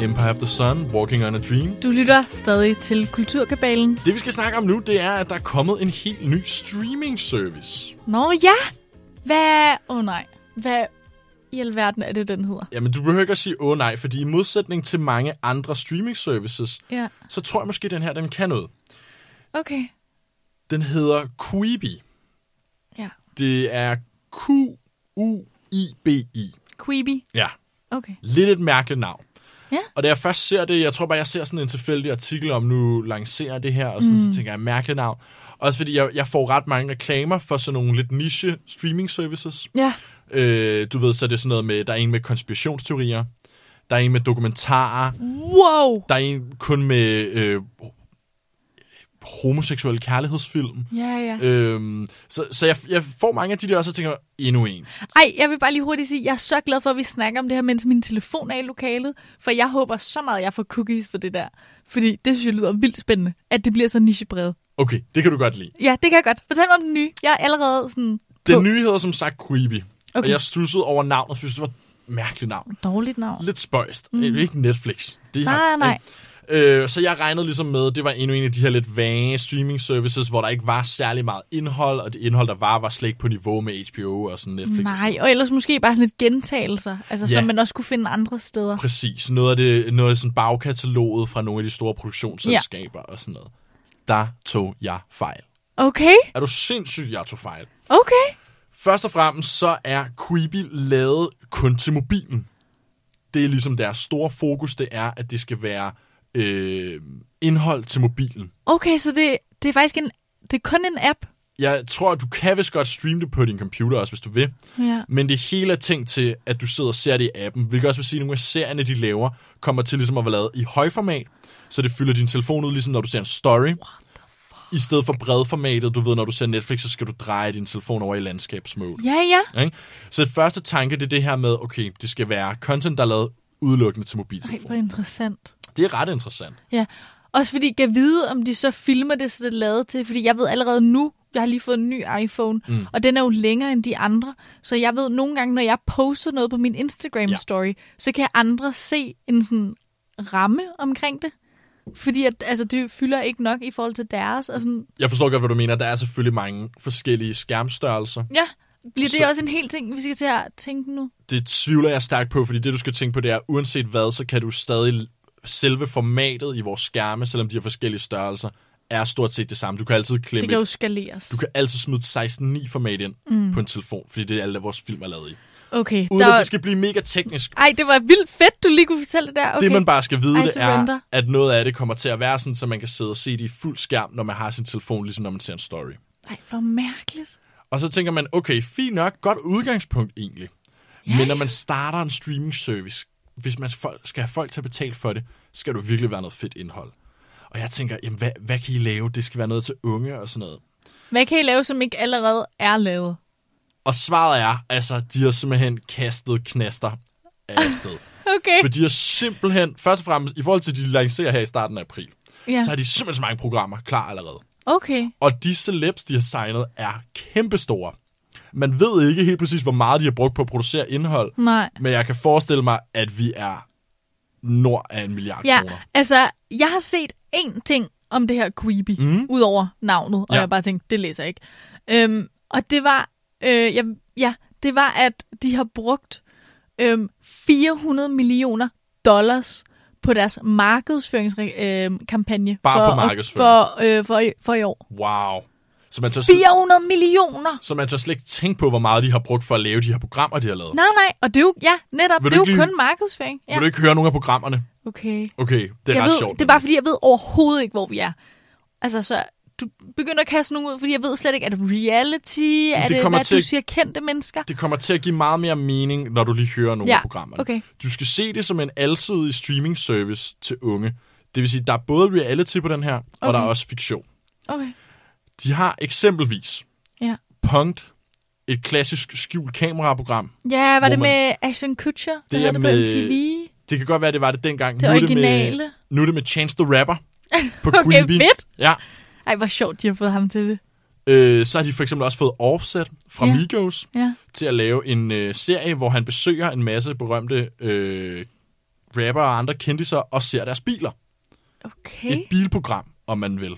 B: Empire of the Sun, Walking on a Dream.
A: Du lytter stadig til Kulturkabalen.
B: Det vi skal snakke om nu, det er, at der er kommet en helt ny streaming service.
A: Nå ja! Hvad... Åh oh, nej. Hvad i alverden er det, den hedder?
B: Jamen, du behøver ikke at sige åh nej, fordi i modsætning til mange andre streaming services,
A: Ja,
B: så tror jeg måske, den her den kan noget.
A: okay.
B: Den hedder Quibi.
A: Ja.
B: Det er Q-U-I-B-I.
A: Queeby.
B: Ja,
A: Okay.
B: lidt et mærkeligt navn.
A: Ja.
B: Og da jeg først ser det, jeg tror bare, jeg ser sådan en tilfældig artikel om, nu lancerer det her, og sådan, mm. så tænker jeg, mærkeligt navn. Også fordi jeg, jeg får ret mange reklamer for sådan nogle lidt niche streaming services.
A: Ja.
B: Øh, du ved, så er det sådan noget med, der er en med konspirationsteorier, der er en med dokumentarer,
A: Wow!
B: der er en kun med øh, homoseksuelle kærlighedsfilm.
A: Ja, ja.
B: Øhm, så så jeg, jeg får mange af de der, og så tænker jeg, endnu en.
A: Ej, jeg vil bare lige hurtigt sige, jeg er så glad for, at vi snakker om det her, mens min telefon er i lokalet. For jeg håber så meget, at jeg får cookies for det der. Fordi det synes jeg lyder vildt spændende, at det bliver så nichebredt.
B: Okay, det kan du godt lide.
A: Ja, det kan jeg godt. Fortæl mig om den nye. Jeg er allerede sådan...
B: Den
A: på.
B: nye hedder som sagt Creepy, okay.
A: Okay.
B: og jeg stussede over navnet, fordi det var et mærkeligt navn.
A: Dårligt navn.
B: Lidt spøjst. Mm. Ikke Netflix. Det
A: Nej,
B: har-
A: nej.
B: Øh, så jeg regnede ligesom med, at det var endnu en af de her lidt vage streaming services, hvor der ikke var særlig meget indhold, og det indhold, der var, var slet ikke på niveau med HBO og sådan Netflix. og sådan
A: Nej, og ellers måske bare sådan lidt gentagelser, altså,
B: Ja.
A: som man også kunne finde andre steder.
B: Præcis. Noget af, det, noget af sådan bagkataloget fra nogle af de store produktionsselskaber ja. og sådan noget. Der tog jeg fejl.
A: Okay,
B: Er du sindssyg, jeg tog fejl?
A: okay.
B: Først og fremmest så er Quibi lavet kun til mobilen. Det er ligesom deres store fokus, det er, at det skal være øh, indhold til mobilen.
A: Okay, så det, det er faktisk en, det er kun en app.
B: Jeg tror, du kan vist godt streame det på din computer også, hvis du vil.
A: Ja.
B: Men det hele er tænkt til, at du sidder og ser det i appen, hvilket også vil sige, at nogle af serierne, de laver, kommer til ligesom at være lavet i højformat, så det fylder din telefon ud, ligesom når du ser en story. I stedet for bredformatet, du ved, når du ser Netflix, så skal du dreje din telefon over i landskabsmode.
A: Ja, ja.
B: Ikke? Så det første tanke, det er det her med, okay, det skal være content, der er lavet udelukkende til
A: Ej, hvor
B: mobiltelefonen.
A: interessant.
B: Det er ret interessant.
A: Ja. Også fordi, jeg vide, om de så filmer det, så det er lavet til. Fordi jeg ved allerede nu, jeg har lige fået en ny iPhone, mm. og den er jo længere end de andre. Så jeg ved nogle gange, når jeg poster noget på min
B: Ja.
A: Instagram-story, ja. så kan andre se en sådan ramme omkring det. Fordi at, altså, det fylder ikke nok i forhold til deres. Og sådan,
B: Jeg forstår godt, hvad du mener. Der er selvfølgelig mange forskellige skærmstørrelser.
A: ja, bliver det
B: Så-
A: så... også en hel ting, vi skal til at tænke nu?
B: det tvivler jeg stærkt på, fordi det, du skal tænke på, det er, uanset hvad, så kan du stadig selve formatet i vores skærme, selvom de har forskellige størrelser, er stort set det samme. Du kan altid klemme
A: Det kan jo
B: et-
A: skaleres.
B: du kan altid smide 16.9 format ind mm. på en telefon, fordi det er alt, hvad vores film er lavet i.
A: Okay,
B: Uden
A: der...
B: at det skal blive mega teknisk.
A: Ej, det var vildt fedt, du lige kunne fortælle det der. Okay.
B: Okay. Det, man bare skal vide,
A: I
B: det er,
A: surrender.
B: at noget af det kommer til at være sådan, så man kan sidde og se det i fuld skærm, når man har sin telefon, ligesom når man ser en story.
A: Ej, hvor mærkeligt.
B: Og så tænker man, okay, fint nok, godt udgangspunkt egentlig. Ja, Men når man starter en streaming service, hvis man fol- skal have folk til at betale for det, så skal du virkelig være noget fedt indhold. Og jeg tænker, jamen hvad, hvad kan I lave? Det skal være noget til unge og sådan noget.
A: Hvad kan I lave, som ikke allerede er lavet?
B: Og svaret er, altså, de har simpelthen kastet knaster af sted.
A: Okay.
B: For de har simpelthen, først og fremmest, i forhold til de lancerer her i starten af april,
A: Ja.
B: så har de simpelthen så mange programmer klar allerede.
A: Okay.
B: Og de celebs, de har signet, er kæmpestore. Man ved ikke helt præcis, hvor meget de har brugt på at producere indhold,
A: Nej.
B: men jeg kan forestille mig, at vi er nord af en milliard
A: Ja,
B: kroner.
A: altså, jeg har set én ting om det her creepy, mm. ud over navnet, og
B: Ja.
A: ja. jeg har bare tænkt, det læser jeg ikke. Øhm, og det var, øh, ja, ja, det var, at de har brugt øhm, 400 millioner dollars på deres markedsføringskampagne. Øh,
B: Bare
A: for,
B: på markedsføring.
A: For, øh, for, i- for i år.
B: Wow. Så man, tør, sl-
A: 400 millioner!
B: så man tør slet ikke tænke på, hvor meget de har brugt for at lave de her programmer, de har lavet.
A: Nej, nej, og det er jo, ja, netop,
B: Vil
A: det er jo
B: du ikke lige-
A: kun markedsføring. Ja.
B: Vil du ikke høre nogen af programmerne?
A: Okay.
B: Okay, det er
A: jeg
B: ret
A: ved,
B: sjovt.
A: Det er bare fordi, jeg ved overhovedet ikke, hvor vi er. Altså, så du begynder at kaste nogen ud, fordi jeg ved slet ikke, er det reality? Er
B: det
A: det, det
B: kommer
A: hvad
B: til-
A: du siger, kendte mennesker?
B: det kommer til at give meget mere mening, når du lige hører nogle
A: Ja,
B: af programmerne.
A: okay.
B: Du skal se det som en alsidig streaming service til unge. Det vil sige, der er både reality på den her, okay. og
A: Okay.
B: der er også fiktion.
A: Okay,
B: De har eksempelvis
A: ja.
B: Punkt, et klassisk skjult kameraprogram.
A: Ja, var
B: Hvor
A: det
B: man-
A: med Ashton Kutcher? der
B: Det
A: havde
B: er
A: det
B: med-
A: på MTV?
B: Det kan godt være, det var det dengang.
A: Det
B: nu, er det med,
A: originale.
B: nu er det med Chance the Rapper på
A: Okay,
B: Creepy.
A: fedt.
B: Ja.
A: Ej, hvor sjovt, de har fået ham til det.
B: Øh, så har de for eksempel også fået Offset fra ja.
A: Ja.
B: Migos
A: Ja.
B: til at lave en øh, serie, hvor han besøger en masse berømte øh, rapper og andre kendtiser og ser deres biler.
A: Okay,
B: Et bilprogram, om man vil.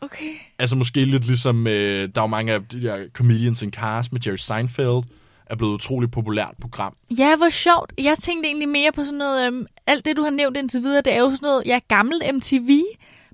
A: okay.
B: Altså måske lidt ligesom, øh, der er jo mange af de der Comedians in Cars med Jerry Seinfeld, er blevet et utroligt populært program.
A: Ja, hvor sjovt. Jeg tænkte egentlig mere på sådan noget, øhm, alt det du har nævnt indtil videre, det er jo sådan noget, ja, gammel MTV,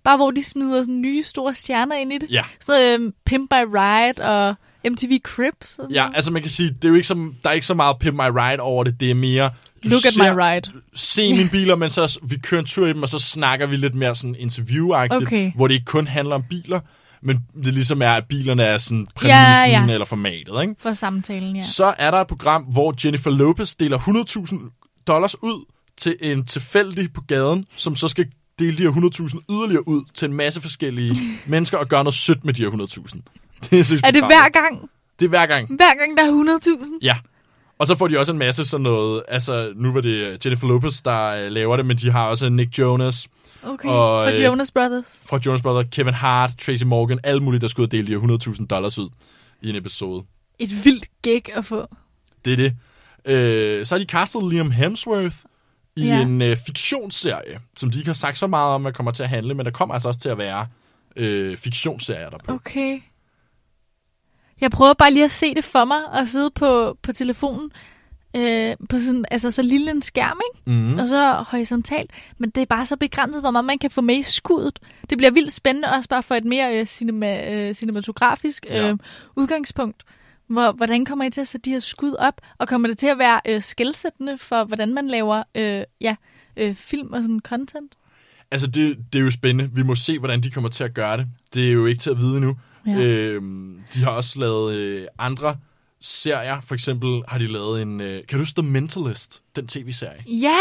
A: bare hvor de smider sådan nye store stjerner ind i det.
B: Ja.
A: Sådan noget, øhm, Pimp by Ride og MTV Crips. Og sådan
B: Ja,
A: noget.
B: altså man kan sige, det er jo ikke så, der er ikke så meget Pimp My Ride over det, det er mere... Du
A: Look at
B: ser-
A: my ride.
B: se mine biler, men så vi kører en tur i dem, og så snakker vi lidt mere sådan interviewagtigt,
A: Okay.
B: hvor det ikke kun handler om biler, men det ligesom er, at bilerne er sådan præmissen
A: ja.
B: eller formatet. Ikke?
A: For samtalen, ja.
B: Så er der et program, hvor Jennifer Lopez deler 100.000 dollars ud til en tilfældig på gaden, som så skal dele de her 100.000 yderligere ud til en masse forskellige mennesker og gøre noget sødt med de her 100.000. Det er, synes,
A: Er det
B: programmet.
A: hver gang?
B: Det er hver gang.
A: Hver gang der er 100.000?
B: Ja. Og så får de også en masse sådan noget, altså nu var det øh, Jennifer Lopez, der øh, laver det, men de har også Nick Jonas
A: Okay,
B: Og,
A: for
B: øh,
A: Jonas Brothers.
B: fra Jonas Brothers, Kevin Hart, Tracy Morgan, alle mulige, der skulle ud og dele de her 100.000 dollars ud i en episode.
A: Et vildt gig at få.
B: Det er det. Øh, så har de castet Liam Hemsworth i
A: Ja.
B: ja. en øh, fiktionsserie, som de ikke har sagt så meget om, at kommer til at handle, men der kommer altså også til at være øh, fiktionsserier derpå. Okay.
A: Okay. Jeg prøver bare lige at se det for mig og sidde på, på telefonen. Øh, på sådan, altså så lille en skærm, ikke?
B: Mm.
A: Og så horisontalt. Men det er bare så begrænset, hvor meget man kan få med i skuddet. Det bliver vildt spændende også bare for et mere øh, cinema, øh, cinematografisk øh,
B: Ja.
A: udgangspunkt. Hvor, hvordan kommer I til at sætte de her skud op? Og kommer det til at være øh, skældsættende for, hvordan man laver øh, ja, øh, film og sådan content?
B: Altså, det, det er jo spændende. Vi må se, hvordan de kommer til at gøre det. Det er jo ikke til at vide nu.
A: Ja.
B: Ja. Øhm, de har også lavet øh, andre serier. For eksempel har de lavet en... Øh, kan du huske The Mentalist? Den tv-serie.
A: Ja!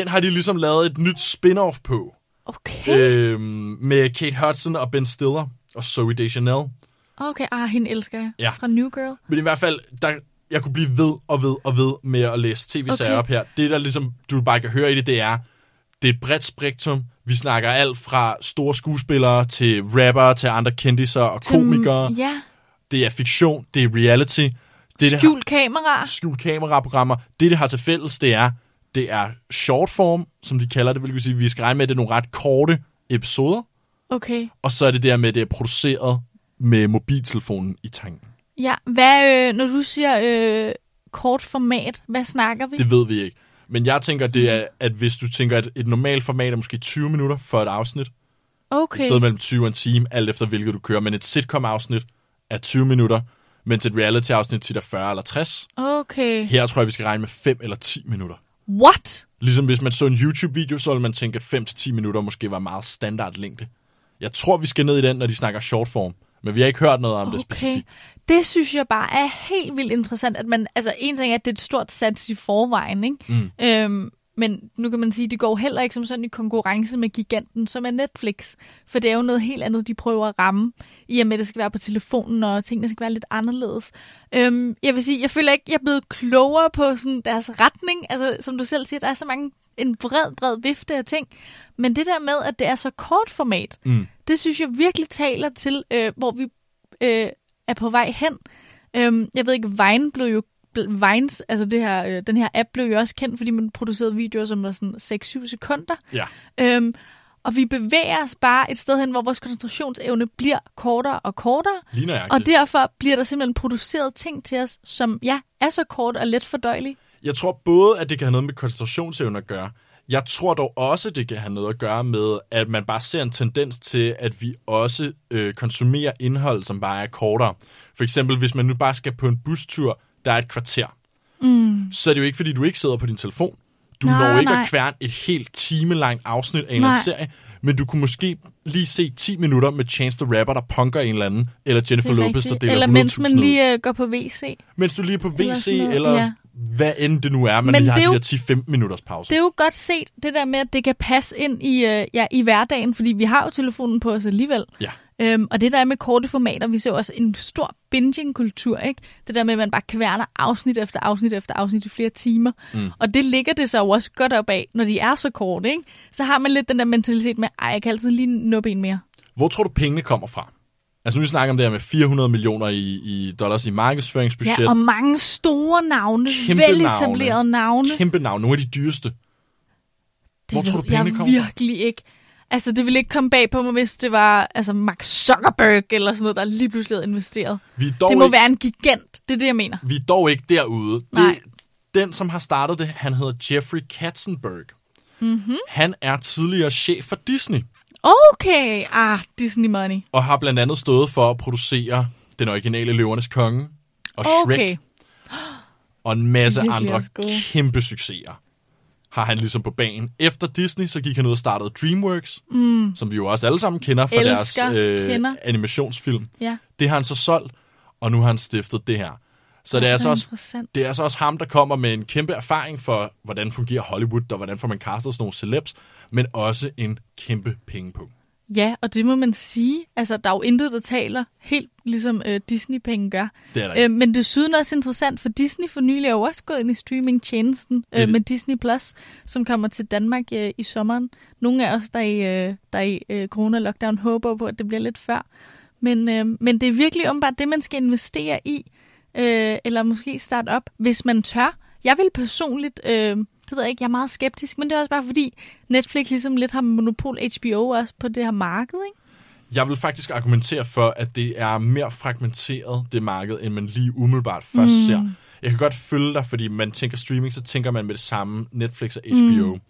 B: Den har de ligesom lavet et nyt spin-off på.
A: Okay.
B: Øhm, med Kate Hudson og Ben Stiller og Zoe Deschanel.
A: Okay, ah, hende elsker jeg.
B: Ja.
A: Fra New Girl.
B: Men i hvert fald, der, jeg kunne blive ved og ved og ved med at læse tv-serier
A: Okay.
B: okay. op her. Det, der ligesom, du bare kan høre i det, det er, det er et bredt spektrum. Vi snakker alt fra store skuespillere til rapper til andre kendiser og
A: Til-
B: komikere.
A: Øhm, Ja.
B: Det er fiktion, det er reality. Det, det har,
A: Skjult kamera.
B: skjult kameraprogrammer. Det, det har til fælles, det er, det er short form, som de kalder det, vil sige, vi skal regne med, at det er nogle ret korte episoder.
A: Okay.
B: Og så er det der med, at det er produceret med mobiltelefonen i tanken.
A: Ja, hvad, øh, når du siger øh, kort format, hvad snakker vi?
B: Det ved vi ikke. Men jeg tænker, det er, at hvis du tænker, at et normalt format er måske 20 minutter for et afsnit, okay. et
A: okay.
B: sted mellem 20 og en time, alt efter hvilket du kører, men et sitcom-afsnit er 20 minutter, mens et reality-afsnit tit er 40 eller 60.
A: Okay.
B: Her tror jeg, vi skal regne med 5 eller 10 minutter.
A: What?
B: Ligesom hvis man så en YouTube-video, så ville man tænke, at 5-10 minutter måske var meget standardlængde. Jeg tror, vi skal ned i den, når de snakker shortform, men vi har ikke hørt noget om det
A: Okay.
B: specifikt.
A: Det synes jeg bare er helt vildt interessant, at man, altså en ting er, at det er et stort sats i forvejen, ikke?
B: Mm.
A: Øhm, men nu kan man sige, at det går heller ikke som sådan i konkurrence med giganten, som er Netflix. For det er jo noget helt andet, de prøver at ramme, i og med, at det skal være på telefonen, og tingene skal være lidt anderledes. Øhm, jeg vil sige, jeg føler ikke, jeg er blevet klogere på sådan deres retning. Altså, som du selv siger, der er så mange, en bred, bred vifte af ting. Men det der med, at det er så kort format,
B: Mm.
A: det synes jeg virkelig taler til, øh, hvor vi øh, er på vej hen. Øhm, jeg ved ikke, Vine blev jo bl- Vines, altså det her, øh, den her app blev jo også kendt, fordi man producerede videoer, som var sådan 6-7 sekunder.
B: Ja.
A: Øhm, og vi bevæger os bare et sted hen, hvor vores koncentrationsevne bliver kortere og kortere.
B: Lige når jeg
A: Og derfor bliver der simpelthen produceret ting til os, som ja, er så kort og let fordøjelige.
B: Jeg tror både, at det kan have noget med koncentrationsevne at gøre. Jeg tror dog også, det kan have noget at gøre med, at man bare ser en tendens til, at vi også øh, konsumerer indhold, som bare er kortere. For eksempel, hvis man nu bare skal på en bustur, der er et kvarter. Mm. Så er det jo ikke, fordi du ikke sidder på din telefon. Du
A: Nej,
B: når ikke
A: nej.
B: at kværne et helt timelangt afsnit af en eller
A: Nej.
B: anden serie, men du kunne måske lige se 10 minutter med Chance the Rapper, der punker en eller anden, eller Jennifer Lopez, der deler
A: Eller
B: 100.000
A: mens man
B: ud.
A: lige øh, går på WC.
B: Mens du lige er på
A: Eller
B: WC,
A: sådan noget,
B: eller, eller
A: ja.
B: ja. hvad end det nu er, men,
A: Men
B: men lige har
A: det er
B: de
A: jo-
B: der 10-15 minutters pause.
A: Det er jo godt set, det der med, at det kan passe ind i, øh, ja, i hverdagen, fordi vi har jo telefonen på os alligevel.
B: Ja.
A: Øhm, og det der er med korte formater, vi ser jo også en stor binging-kultur, ikke? Det der med, at man bare kværner afsnit efter afsnit efter afsnit i flere timer. Mm. Og det ligger det så jo også godt op af, når de er så korte, ikke? Så har man lidt den der mentalitet med, ej, jeg kan altid lige nuppe en mere.
B: Hvor tror du, pengene kommer fra? Altså nu vi snakker om det her med 400 millioner i, i dollars i markedsføringsbudget.
A: Ja, og mange store navne,
B: Kæmpe
A: veletablerede navne.
B: Kæmpe navn, nogle af de dyreste. Hvor tror du,
A: ved jeg
B: pengene kommer fra?
A: virkelig ikke. Altså, det ville ikke komme bag på mig, hvis det var altså, Mark Zuckerberg eller sådan noget, der lige pludselig havde investeret.
B: Vi er dog
A: det må
B: ikke-
A: være en gigant, det er det, jeg mener.
B: Vi er dog ikke derude. Det,
A: Nej.
B: Den, som har startet det, han hedder Jeffrey Katzenberg. Mm-hmm. Han er tidligere chef for Disney,
A: Okay, ah, Disney money.
B: og har blandt andet stået for at producere den originale Løvernes Konge og Shrek,
A: Okay,
B: og en masse
A: Virkelig
B: andre
A: også gode.
B: kæmpe succeser har han ligesom på banen. Efter Disney, så gik han ud og startede DreamWorks, mm. som vi jo også alle sammen kender fra
A: Elsker,
B: deres øh,
A: kender.
B: animationsfilm.
A: ja.
B: Det har han så solgt, og nu har han stiftet det her. Så det er, altså
A: Hvor
B: også,
A: interessant.
B: det er altså også ham, der kommer med en kæmpe erfaring for, hvordan fungerer Hollywood, og hvordan får man castet sådan nogle celebs, men også en kæmpe pengepung.
A: Ja, og det må man sige. Altså, der er jo intet, der taler, helt ligesom øh, Disney-penge gør.
B: Det er der ikke.
A: Øh, men desuden også interessant, for Disney for nylig er jo også gået ind i streamingtjenesten
B: Det er
A: øh,
B: det.
A: med Disney+, Plus, som kommer til Danmark øh, i sommeren. Nogle af os, der i, øh, der i øh, corona-lockdown, håber på, at det bliver lidt før. Men, øh, men det er virkelig åbenbart det, man skal investere i, øh, eller måske starte op, hvis man tør. Jeg vil personligt, øh, det ved jeg ikke, jeg er meget skeptisk, men det er også bare fordi, Netflix ligesom lidt har monopol HBO også på det her marked, ikke?
B: Jeg vil faktisk argumentere for, at det er mere fragmenteret, det marked, end man lige umiddelbart først mm. ser. Jeg kan godt følge dig, fordi man tænker streaming, så tænker man med det samme Netflix og HBO. Mm.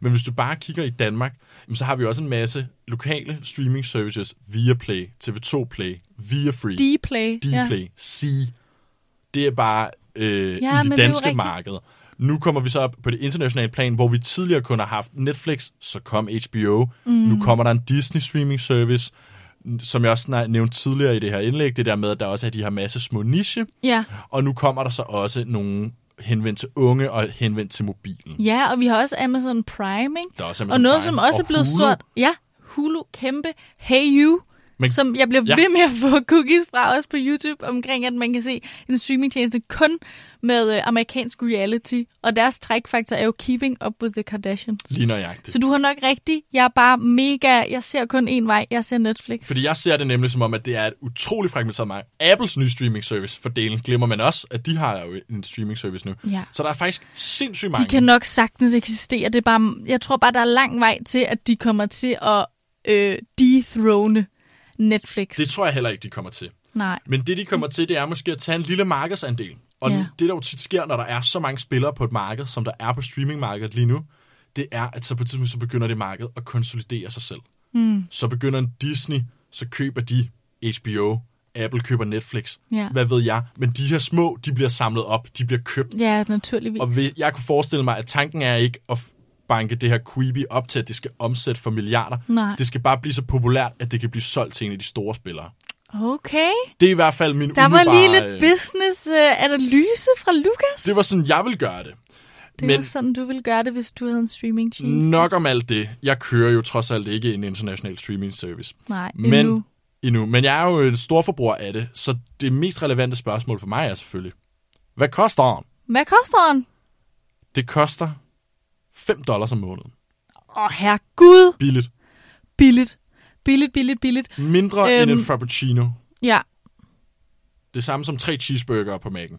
B: Men hvis du bare kigger i Danmark, jamen, så har vi også en masse lokale streaming services, Viaplay, TV2 Play, Viafree,
A: Dplay.
B: Dplay, ja. C. Det er bare øh,
A: Ja,
B: i
A: men
B: det
A: det er jo
B: danske det
A: rigtigt.
B: marked. Nu kommer vi så op på det internationale plan, hvor vi tidligere kun har haft Netflix, så kom HBO, mm. nu kommer der en Disney streaming service, som jeg også snak- nævnte tidligere i det her indlæg, det der med, at der også er de her masse små niche,
A: Ja.
B: og nu kommer der så også nogle henvendt til unge og henvendt til mobilen.
A: ja, og vi har også Amazon Prime, ikke?
B: Der er også Amazon
A: og noget,
B: Prime
A: som også
B: og
A: er blevet
B: Hulu.
A: stort. Ja, Hulu, kæmpe. Hey You,
B: Men-
A: Men, som jeg bliver
B: Ja.
A: ja. ved med at få cookies fra, også på YouTube, omkring, at man kan se en streamingtjeneste kun med øh, amerikansk reality. Og deres trækfaktor er jo Keeping Up With The Kardashians.
B: Lige nøjagtigt.
A: Så du har nok rigtigt. Jeg er bare mega... Jeg ser kun én vej. Jeg ser Netflix.
B: Fordi jeg ser det nemlig som om, at det er et utrolig fragmenteret marked. Apples nye streaming service for delen glemmer man også, at de har jo en streaming service nu.
A: Ja.
B: Så der er faktisk sindssygt mange.
A: De kan nok sagtens eksistere. Det er bare, jeg tror bare, der er lang vej til, at de kommer til at øh, dethrone Netflix.
B: Det tror jeg heller ikke, de kommer til.
A: Nej.
B: Men det, de kommer til, det er måske at tage en lille markedsandel. Og
A: Ja.
B: ja. det, der jo tit sker, når der er så mange spillere på et marked, som der er på streamingmarkedet lige nu, det er, at så på et tidspunkt, så begynder det marked at konsolidere sig selv.
A: Hmm.
B: Mm. Så begynder en Disney, så køber de HBO, Apple køber Netflix,
A: Ja.
B: hvad ved jeg. Men de her små, de bliver samlet op, de bliver købt
A: Ja, naturligvis.
B: Og ved, jeg kunne forestille mig, at tanken er ikke at f- banke det her Quibi op til, at det skal omsætte for milliarder.
A: Nej.
B: Det skal bare blive så populært, at det kan blive solgt til en af de store spillere.
A: Okay.
B: Det er i hvert fald min
A: Der var lige
B: umiddelbare,
A: lidt
B: øh,
A: business-analyse fra Lukas.
B: Det var sådan, jeg vil gøre det.
A: det var
B: Men
A: sådan, du ville gøre det, hvis du havde en streamingtjeneste.
B: nok om alt det. Jeg kører jo trods alt ikke en international streaming service.
A: Nej,
B: Men,
A: endnu.
B: endnu. Men jeg er jo en stor forbruger af det, så det mest relevante spørgsmål for mig er selvfølgelig, hvad koster den?
A: Hvad koster den?
B: Det koster 5 dollars om måneden.
A: Åh, herregud.
B: Billigt.
A: Billigt. Billigt, billigt, billigt.
B: Mindre end
A: Øhm.
B: en frappuccino.
A: Ja,
B: Det samme som tre cheeseburger på mækken.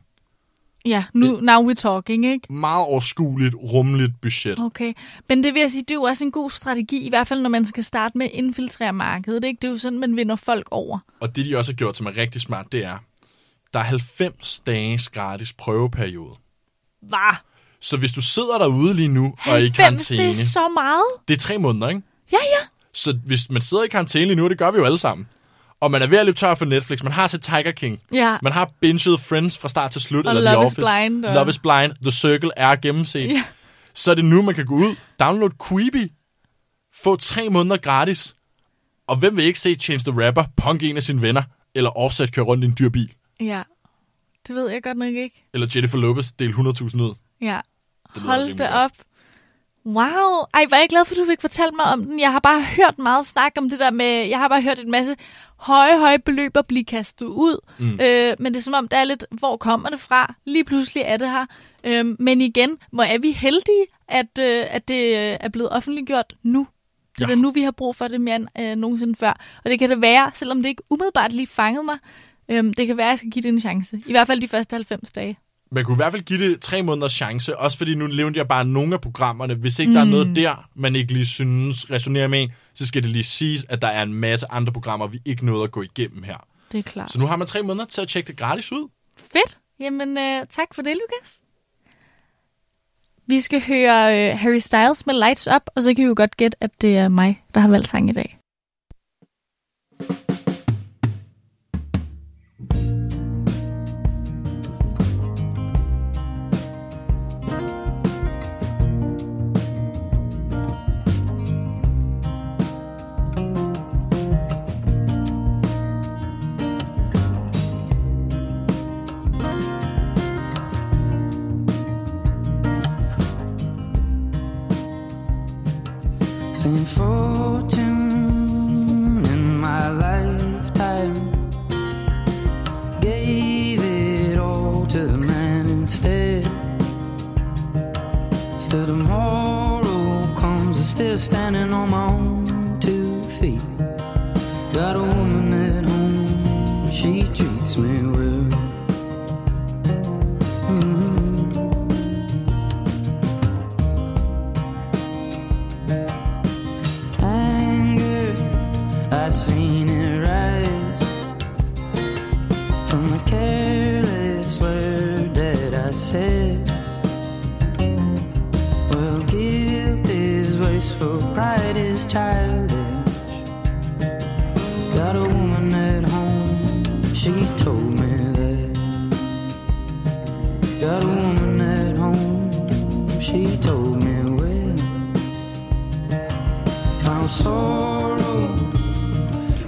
A: ja. Nu, now we're talking, ikke?
B: Meget overskueligt, rummeligt budget.
A: Okay, men det vil jeg sige, det er jo også en god strategi, i hvert fald når man skal starte med at infiltrere markedet. Ikke? Det er jo sådan, man vinder folk over.
B: Og det, de også har gjort, som er rigtig smart, det er, der er 90 dages gratis prøveperiode.
A: Var
B: Så hvis du sidder derude lige nu og er i
A: det er
B: karantæne,
A: så meget.
B: det er tre måneder, ikke?
A: Ja, ja.
B: Så hvis man sidder i karantæne lige nu, og det gør vi jo alle sammen, og man er ved at løbe tør for Netflix, man har set Tiger King,
A: Ja.
B: man har binget Friends fra start til slut,
A: Og
B: eller The
A: Love is
B: Office,
A: Blind, og-
B: Love is Blind, The Circle er gennemset,
A: Ja.
B: så er det nu, man kan gå ud, download Quibi, få tre måneder gratis, og hvem vil ikke se Change the Rapper, punk en af sine venner, eller Offset køre rundt i en dyr bil,
A: Ja, det ved jeg godt nok ikke.
B: eller Jennifer Lopez del 100.000 ud.
A: Ja,
B: Det lyder
A: hold
B: rimelig
A: det
B: godt.
A: op. Wow, ej, var jeg glad for, at du fik fortalt mig om den. Jeg har bare hørt meget snak om det der med, jeg har bare hørt en masse høje, høje beløb at blive kastet ud. Mm. Øh, men det er som om, der er lidt, hvor kommer det fra? Lige pludselig er det her. Øh, men igen, hvor er vi heldige, at, øh, at det øh, er blevet offentliggjort nu. Det er
B: Ja.
A: ja. nu, vi har brug for det mere end øh, nogensinde før. Og det kan det være, selvom øhm, det ikke umiddelbart lige fangede mig, øh, det kan være, at jeg skal give det en chance. I hvert fald de første 90 dage.
B: man kunne i hvert fald give det tre måneders chance, også fordi nu levnte jeg bare nogle af programmerne. Hvis ikke mm. der er noget der, man ikke lige synes resonerer med en, så skal det lige siges, at der er en masse andre programmer, vi ikke nåede at gå igennem her.
A: Det er klart.
B: Så nu har man tre måneder til at tjekke det gratis ud.
A: Fedt. Jamen, øh, tak for det, Lukas. Vi skal høre øh, Harry Styles med Lights Up, og så kan I jo godt gætte, at det er mig, der har valgt sang i dag.
D: Same fortune in my lifetime. Gave it all to the man instead. Still tomorrow comes, I'm still standing on my own two feet. Got a woman at home, she treats me well. Mhm. anger. I seen it rise from a careless word that I said. Well, guilt is wasteful, pride is childish. Got a woman at home, she told me that. Got a woman at home, she told me well found sorrow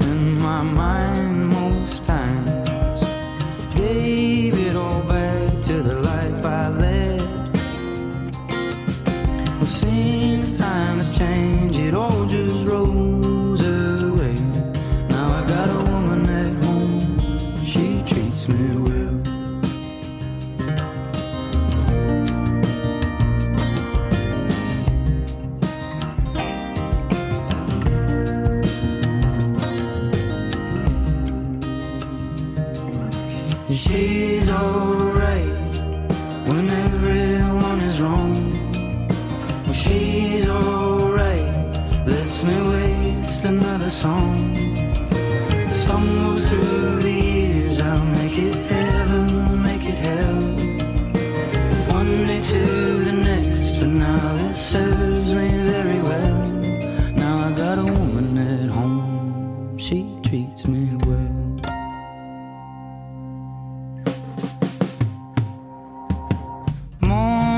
D: in my mind most times. Gave it all back to the life I led. Well, since time has changed, it all just rolls away. Now I got a woman at home, she treats me well. She's alright when everyone is wrong. Well, She's alright, lets me waste another song. Stumble through the years, I'll make it heaven, make it hell. One day to the next, but now it serves me very well. Now I got a woman at home, she treats me well.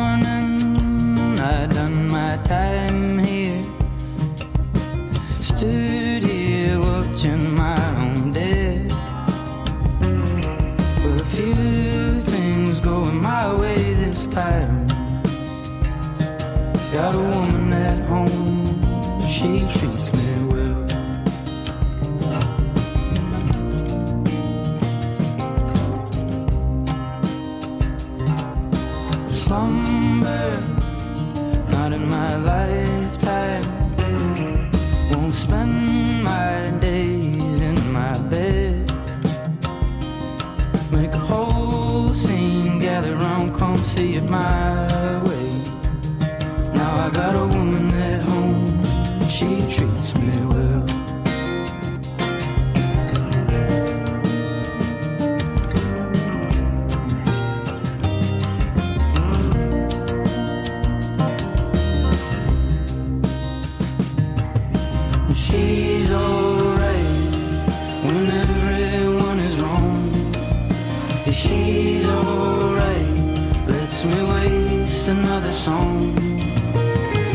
D: morning. I done my time here. Stood here watching my own death. With a few things going my way this time. Got a woman at home, she treats me well. slumber, not in my lifetime. Won't spend my days in my bed. Make a whole scene, gather round, come see it my way. Now I got a woman at home, she treats me well. She's alright when everyone is wrong. She's alright, lets me waste another song.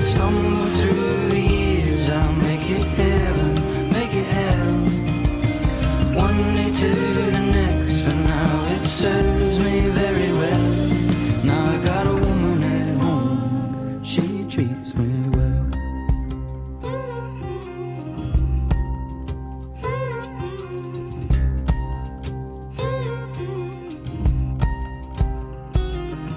D: Stumble through the years, I'll make it heaven, make it hell. One day to the next, for now it serves me very well. Now I got a woman at home, she treats me well.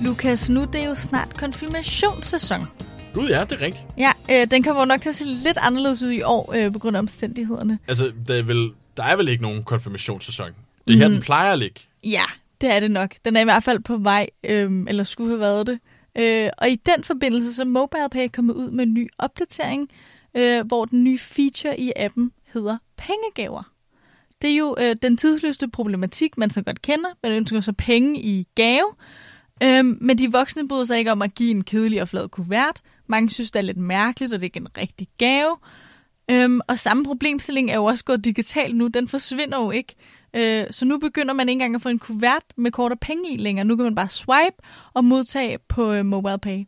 A: Lukas, nu det er jo snart konfirmationssæson.
B: Gud ja, det er rigtigt.
A: Ja, øh, den kommer jo nok til at se lidt anderledes ud i år øh, på grund af omstændighederne.
B: Altså, der er vel, der er vel ikke nogen konfirmationssæson. Det er her, den plejer at ligge.
A: Ja, det er det nok. Den er i hvert fald på vej, øhm, eller skulle have været det. Øh, og i den forbindelse, så er MobilePay kommet ud med en ny opdatering, øh, hvor den nye feature i appen hedder pengegaver. Det er jo øh, den tidsløste problematik, man så godt kender. Man ønsker sig penge i gave, øhm, men de voksne bryder sig ikke om at give en kedelig og flad kuvert. Mange synes, det er lidt mærkeligt, og det er ikke en rigtig gave. Øhm, og samme problemstilling er jo også gået digitalt nu. Den forsvinder jo ikke. Øh, så nu begynder man ikke engang at få en kuvert med kort og penge i længere. Nu kan man bare swipe og modtage på øh, MobilePay.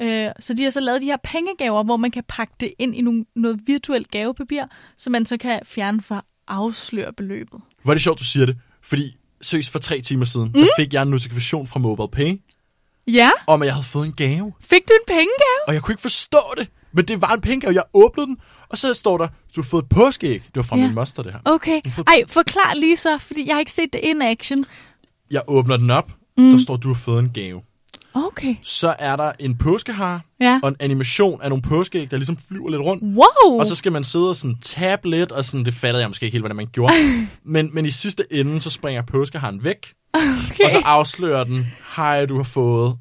A: Øh, så de har så lavet de her pengegaver, hvor man kan pakke det ind i nogle, noget virtuelt gavepapir, som man så kan fjerne for at afsløre beløbet.
B: Hvor er det sjovt, du siger det, fordi søs for tre timer siden, mm. der fik jeg en notifikation fra MobilePay,
A: Ja,
B: om at jeg havde fået en gave.
A: fik du en pengegave?
B: Og jeg kunne ikke forstå det, men det var en pengegave. Jeg åbnede den, og så står der, du har fået et påskeæg. Det var fra
A: Ja.
B: ja. min moster, det her.
A: Okay. Ej, forklar lige så, fordi jeg har ikke set det in action.
B: Jeg åbner den op, mm. der står, du har fået en gave.
A: Okay.
B: Så er der en påskehare,
A: Ja.
B: og en animation af nogle påskeæg, der ligesom flyver lidt rundt.
A: Wow!
B: Og så skal man sidde og sådan tabe lidt, og sådan, det fattede jeg måske ikke helt, hvordan man gjorde. men, men i sidste ende, så springer påskeharen væk,
A: okay.
B: og så afslører den, hej, du har fået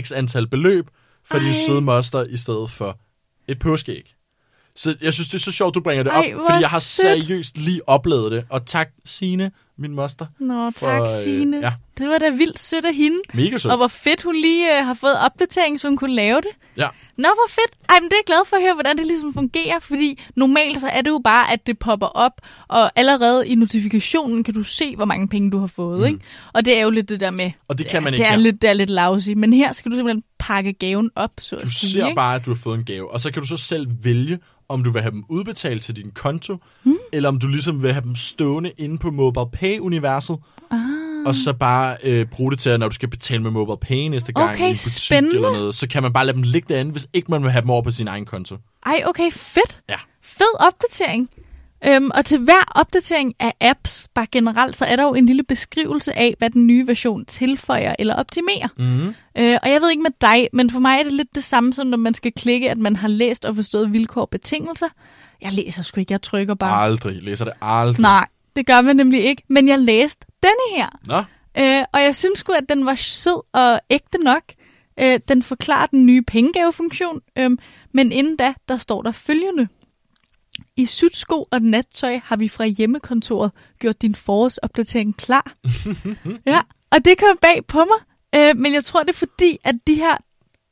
B: x antal beløb for din
A: Ej.
B: søde moster, i stedet for et påskeæg. Så jeg synes, det er så sjovt, du bringer det
A: Ej,
B: op,
A: hvor
B: fordi jeg har
A: sødt.
B: seriøst lige oplevet det. Og tak, Sine, min moster.
A: Nå,
B: for,
A: tak,
B: øh,
A: Signe.
B: ja.
A: Det var da vildt sødt af hende.
B: Mega sødt.
A: Og hvor fedt, hun lige øh, har fået opdatering, så hun kunne lave det.
B: Ja.
A: Nå, hvor fedt. Ej, men det er jeg glad for at høre, hvordan det ligesom fungerer, fordi normalt så er det jo bare, at det popper op, og allerede i notifikationen kan du se, hvor mange penge du har fået, mm. ikke? Og det er jo lidt det der med,
B: Og det kan man
A: det
B: ikke
A: er
B: her.
A: lidt, det er lidt lousy, men her skal du simpelthen pakke gaven op, så
B: Du
A: at sige,
B: ser
A: ikke?
B: bare, at du har fået en gave, og så kan du så selv vælge, om du vil have dem udbetalt til din konto,
A: Hmm?
B: mm. eller om du ligesom vil have dem stående inde på MobilePay-universet, ah. og så bare øh, bruge det til, at når du skal betale med MobilePay næste gang
A: Okay,
B: i en butik
A: spændende.
B: eller noget, så kan man bare lade dem ligge derinde, hvis ikke man vil have dem over på sin egen konto.
A: Ej, okay, fedt.
B: Ja.
A: Fed opdatering. Øhm, og til hver opdatering af apps, bare generelt, så er der jo en lille beskrivelse af, hvad den nye version tilføjer eller optimerer.
B: Mm.
A: Øh, og jeg ved ikke med dig, men for mig er det lidt det samme, som når man skal klikke, at man har læst og forstået vilkår og betingelser. Jeg læser sgu ikke, jeg trykker bare. Ej.
B: Aldrig. Læser det aldrig.
A: Nej, det gør man nemlig ikke, men jeg læste denne her.
B: Nå?
A: Øh, og jeg synes sgu, at den var sød og ægte nok. Øh, den forklarer den nye pengegavefunktion, øhm, men inden da, der står der følgende. I Sutsko og Nattøj har vi fra hjemmekontoret gjort din forårsopdatering klar. ja, og det kom bag på mig, øh, men jeg tror, det er fordi, at de her,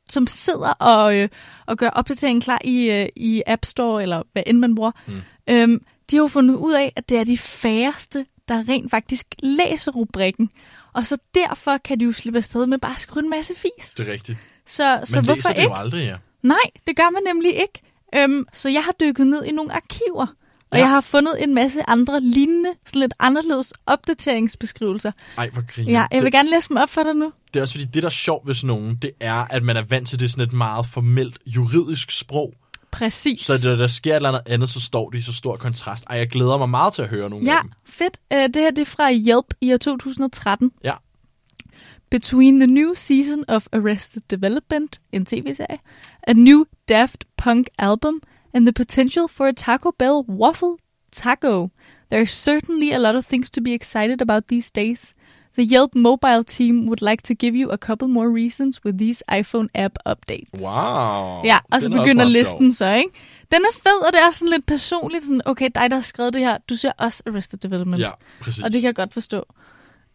A: som sidder og, øh, og gør opdateringen klar i, øh, i App Store, eller hvad end man bruger, mm. øhm, de har jo fundet ud af, at det er de færreste, der rent faktisk læser rubrikken. Og så derfor kan de jo slippe afsted med bare at skrive en masse fis.
B: Det er rigtigt.
A: Så, så
B: Man
A: hvorfor
B: læser det
A: ikke?
B: jo aldrig, ja.
A: Nej, det gør man nemlig ikke. Øhm, så jeg har dykket ned i nogle arkiver, og ja.
B: Ja.
A: jeg har fundet en masse andre lignende, sådan lidt anderledes opdateringsbeskrivelser.
B: Ej, hvor griner.
A: Ja, jeg vil
B: det,
A: gerne læse dem op for dig nu.
B: det er også fordi, det der er sjovt ved sådan nogen, det er, at man er vant til det sådan et meget formelt juridisk sprog,
A: Præcis.
B: Så det, når der sker et eller andet andet, så står det i så stor kontrast. Ej, jeg glæder mig meget til at høre nogle
A: Ja,
B: af dem.
A: fedt. Øh, det her det er fra Yelp i år 2013.
B: Ja.
A: Between the new season of Arrested Development, en tv-serie, a new Daft Punk album, and the potential for a Taco Bell waffle taco. There's certainly a lot of things to be excited about these days. The Yelp mobile team would like to give you a couple more reasons with these iPhone app updates.
B: Wow.
A: Ja, og så
B: Den er også
A: begynder
B: meget
A: listen så, ikke? Den er fed, og det er sådan lidt personligt. Sådan, okay, dig, der har skrevet det her, du ser også Arrested Development.
B: Sjov. Ja, præcis.
A: Og det kan jeg godt forstå.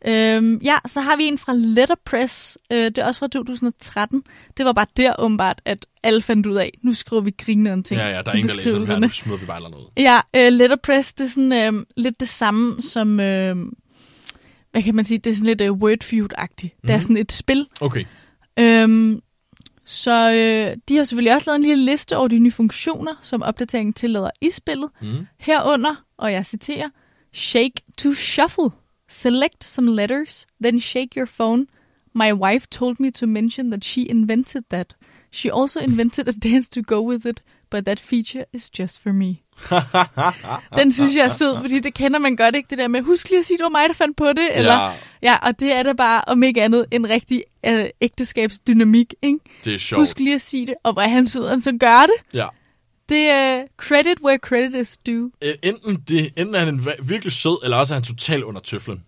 A: Øhm, ja, så har vi en fra Letterpress. Øh, det er også fra 2013. Det var bare der åbenbart, at alle fandt ud af, nu skriver vi grinerende ting.
B: Ja, ja, der er
A: i
B: ingen, der læser dem her.
A: beskrivelserne.
B: Nu smider vi bare eller noget.
A: Ja, øh, Letterpress, det er sådan øh, lidt det samme som, øh, hvad kan man sige, det er sådan lidt øh, Wordfeud-agtigt. Mm. Det er
B: Mhm.
A: sådan et spil,
B: Okay.
A: Øhm, så øh, de har selvfølgelig også lavet en lille liste over de nye funktioner, som opdateringen tillader i spillet.
B: Mm.
A: Herunder, og jeg citerer, Shake to shuffle. Select some letters, then shake your phone. My wife told me to mention that she invented that. She also invented a dance to go with it. but that feature is just for me. den synes jeg er sød, fordi det kender man godt, ikke? Det der med, husk lige at sige, det var mig, der fandt på det. Ja. Eller,
B: Ja,
A: ja, og det er da bare, om ikke andet, en rigtig øh, ægteskabsdynamik, ikke?
B: det er sjovt.
A: Husk lige at sige det, og hvor er han sød, han så gør det.
B: Ja.
A: Det er uh, credit where credit is due.
B: Øh, Enten, det, enten er han en va- virkelig sød, eller også er han totalt under tøflen.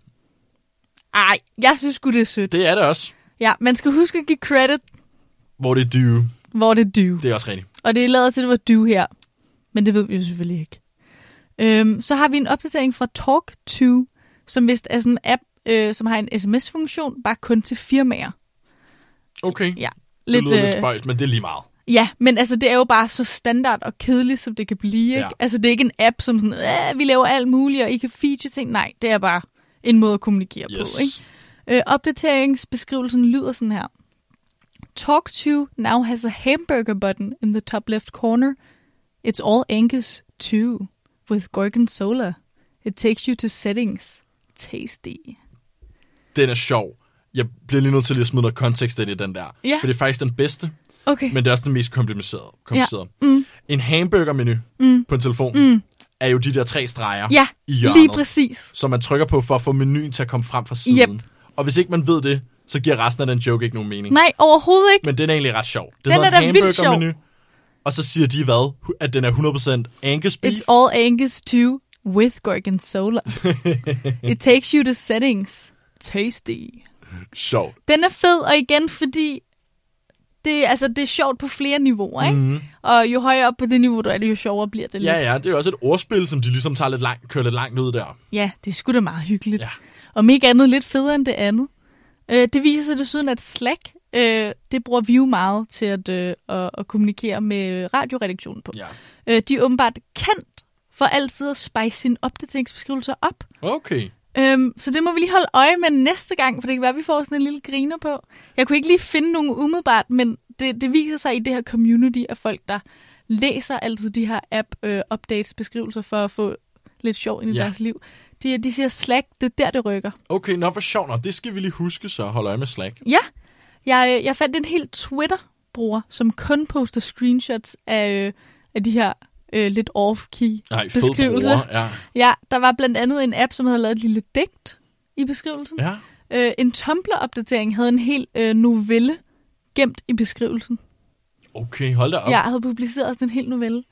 A: Ej, jeg synes sgu, det er sødt.
B: Det er det også.
A: Ja, man skal huske at give credit,
B: Hvor det er dyve.
A: hvor det er due.
B: Det er også rigtigt.
A: Og det er lavet til, at det var due her. Men det ved vi jo selvfølgelig ikke. Øhm, så har vi en opdatering fra Talk2, som vist er sådan en app, øh, som har en sms-funktion, bare kun til firmaer.
B: Okay.
A: Ja,
B: Lidt, det lyder lidt
A: øh,
B: spøjs, men det er lige meget.
A: Ja, men altså, det er jo bare så standard og kedeligt, som det kan blive. Ikke?
B: Ja.
A: Altså, det er ikke en app, som sådan, "Æh, vi laver alt muligt, og I kan feature ting. Nej, det er bare en måde at kommunikere
B: Yes.
A: på. Ikke? Øh, opdateringsbeskrivelsen lyder sådan her. Talk to now has a hamburger button in the top left corner. It's all Angus 2 with gorgonzola. It takes you to settings. Tasty.
B: Den er sjov. Jeg bliver lige nødt til lige at smide noget kontekst ind i den der.
A: Ja.
B: For det er faktisk den bedste,
A: Okay.
B: men det er også den mest komplicerede. komplicerede. Ja. Mm. En hamburgermenu mm. på en telefon mm. er jo de der tre streger
A: ja,
B: i hjørnet,
A: lige præcis.
B: som man trykker på for at få menuen til at komme frem fra siden.
A: Yep.
B: Og hvis ikke man ved det, så giver resten af den joke ikke nogen mening.
A: Nej, overhovedet ikke.
B: Men den er egentlig ret sjov. Det
A: Den
B: hedder
A: er da
B: en
A: vildt sjov.
B: hamburgermenu, Og så siger de hvad? At den er 100% Angus beef.
A: It's all Angus 2 with Gorgonzola. It takes you to settings. Tasty.
B: Sjov.
A: Den er fed, og igen, fordi det, altså, det er sjovt på flere niveauer,
B: Mm.
A: ikke? Mm-hmm. Og jo højere op på det niveau, du er, det, jo sjovere bliver det lidt.
B: Mhm. Ja, ja, det er jo også et ordspil, som de ligesom tager lidt langt, kører lidt langt ud der.
A: Ja, det er sgu da meget hyggeligt.
B: Ja.
A: Om ikke andet lidt federe end det andet. Øh, det viser sig desuden, at Slack, øh, det bruger vi jo meget til at, øh, at, at kommunikere med radioredaktionen på.
B: Ja.
A: Øh, de er åbenbart kendt for altid at spice sine opdateringsbeskrivelser op.
B: Okay.
A: Øhm, så det må vi lige holde øje med næste gang, for det kan være, at vi får sådan en lille griner på. Jeg kunne ikke lige finde nogen umiddelbart, men det, det viser sig i det her community af folk, der læser altid de her app-updates-beskrivelser for at få lidt sjov ind i
B: Ja.
A: ja. deres liv. De, de siger, Slack, det er der, det rykker.
B: Okay, nå, hvor sjovt. Nå, det skal vi lige huske, så hold øje med Slack.
A: Ja, jeg, øh, jeg fandt en helt Twitter-bruger, som kun poster screenshots af, øh, af de her øh, lidt off-key
B: Nej, fed
A: beskrivelser.
B: bruger. Ja.
A: Ja, der var blandt andet en app, som havde lavet et lille digt i beskrivelsen.
B: ja.
A: Øh, en Tumblr-opdatering havde en hel øh, novelle gemt i beskrivelsen.
B: Okay, hold da op.
A: Okay. Jeg havde publiceret sådan en hel novelle.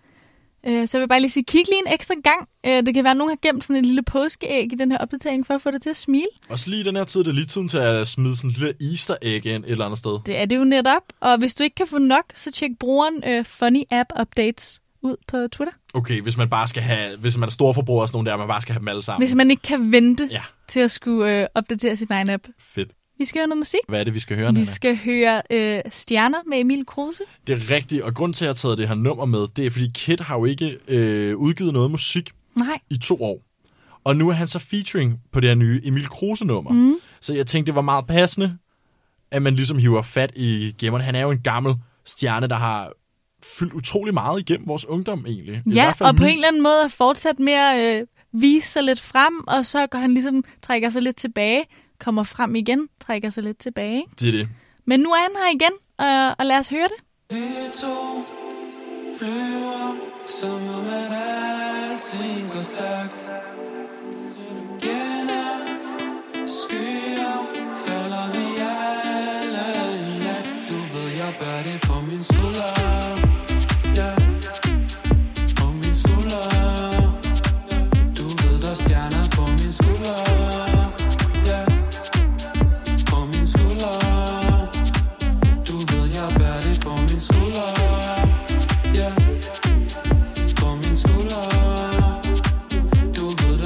A: Øh, så jeg vil bare lige sige, kig lige en ekstra gang. Øh, det kan være, at nogen har gemt sådan et lille påskeæg i den her opdatering, for at få dig til at smile.
B: Også lige i den her tid, det er lige tiden til at smide sådan en lille easter egg ind et eller andet sted.
A: Det er det jo netop. Og hvis du ikke kan få nok, så tjek brugeren øh, Funny App Updates ud på Twitter.
B: Okay, hvis man bare skal have, hvis man er stor forbruger og sådan nogle der, man bare skal have dem alle sammen.
A: Hvis man ikke kan vente ja.
B: Ja,
A: til at skulle øh, opdatere sin egen app.
B: fedt.
A: Vi skal høre noget musik.
B: Hvad er det, vi skal høre,
A: Vi
B: Nana?
A: skal høre øh, Stjerner med Emil Kruse.
B: Det er rigtigt, og grund til, at jeg har taget det her nummer med, det er, fordi Kid har jo ikke øh, udgivet noget musik
A: Nej.
B: i to år. Og nu er han så featuring på det her nye Emil Kruse-nummer. Mm. Så jeg tænkte, det var meget passende, at man ligesom hiver fat i gemmeren. Han er jo en gammel stjerne, der har fyldt utrolig meget igennem vores ungdom egentlig. I
A: Ja,
B: hvert fald
A: og på
B: min-
A: en eller anden måde er fortsat med at øh, vise sig lidt frem, og så går han ligesom, trækker sig lidt tilbage, kommer frem igen, trækker sig lidt tilbage.
B: Det er det.
A: Men nu er han her igen, øh, og lad os høre det.
E: Vi to flyver, som om at alting går stærkt. Gennem skyer falder vi alle i nat. Du ved, jeg bærer det på min skulder. Ja, på min skulder. Du ved, der er stjerner på min skulder. Ja, på min skulder. Du ved, jeg bærer det på min skulder Ja, på min skulder Du ved,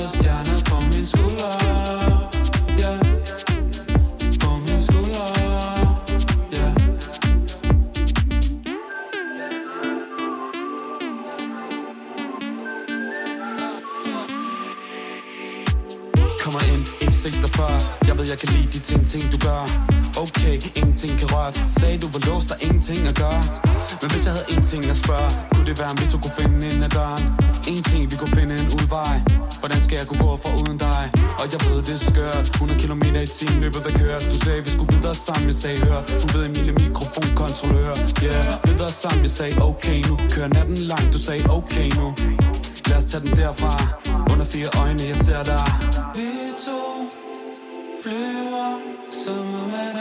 E: jeg kan lide de ting, ting du gør Okay, ingenting kan røres Sagde du var låst, der er ingenting at gøre Men hvis jeg havde en ting at spørge Kunne det være, om vi to kunne finde ind ad døren En ting, vi kunne finde en udvej Hvordan skal jeg kunne gå fra uden dig? Og jeg ved, det er skørt 100 km i timen løbet der kørt Du sagde, vi skulle videre sammen, jeg sagde, hør Du ved, Emilie, mikrofonkontrollør Yeah, videre sammen, jeg sagde, okay nu Kører natten lang, du sagde, okay nu Lad os tage den derfra Under fire øjne, jeg ser dig Vi to flyver Som om at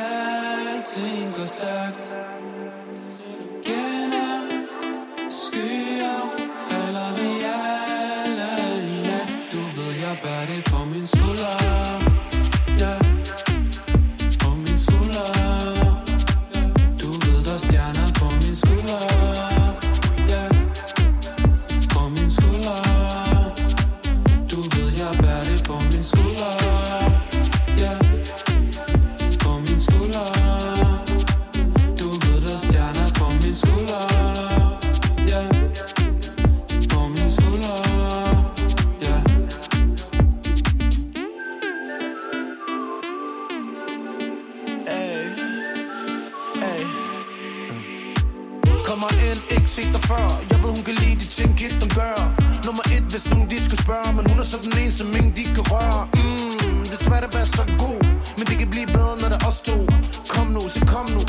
E: alting går stærkt Gennem skyer falder vi alle i nat Du ved, jeg bærer det på min skulder Ja, på min skulder Du ved, der er stjerner på min skulder Ja, på min skulder Du ved, jeg bærer det på min skulder Ja, på min skulder Du ved, der er stjerner på min skulder Ja, på min skulder Ja
F: Ay, ay. Kommer ind, ikke set dig før Jeg ved, hun kan lide de ting, kid, den gør Nummer et, hvis nogen de skulle spørge Men hun er sådan en, som ingen de kan røre mm, Det er svært at være så god Men det kan blive bedre, når det er os to Kom nu, så kom nu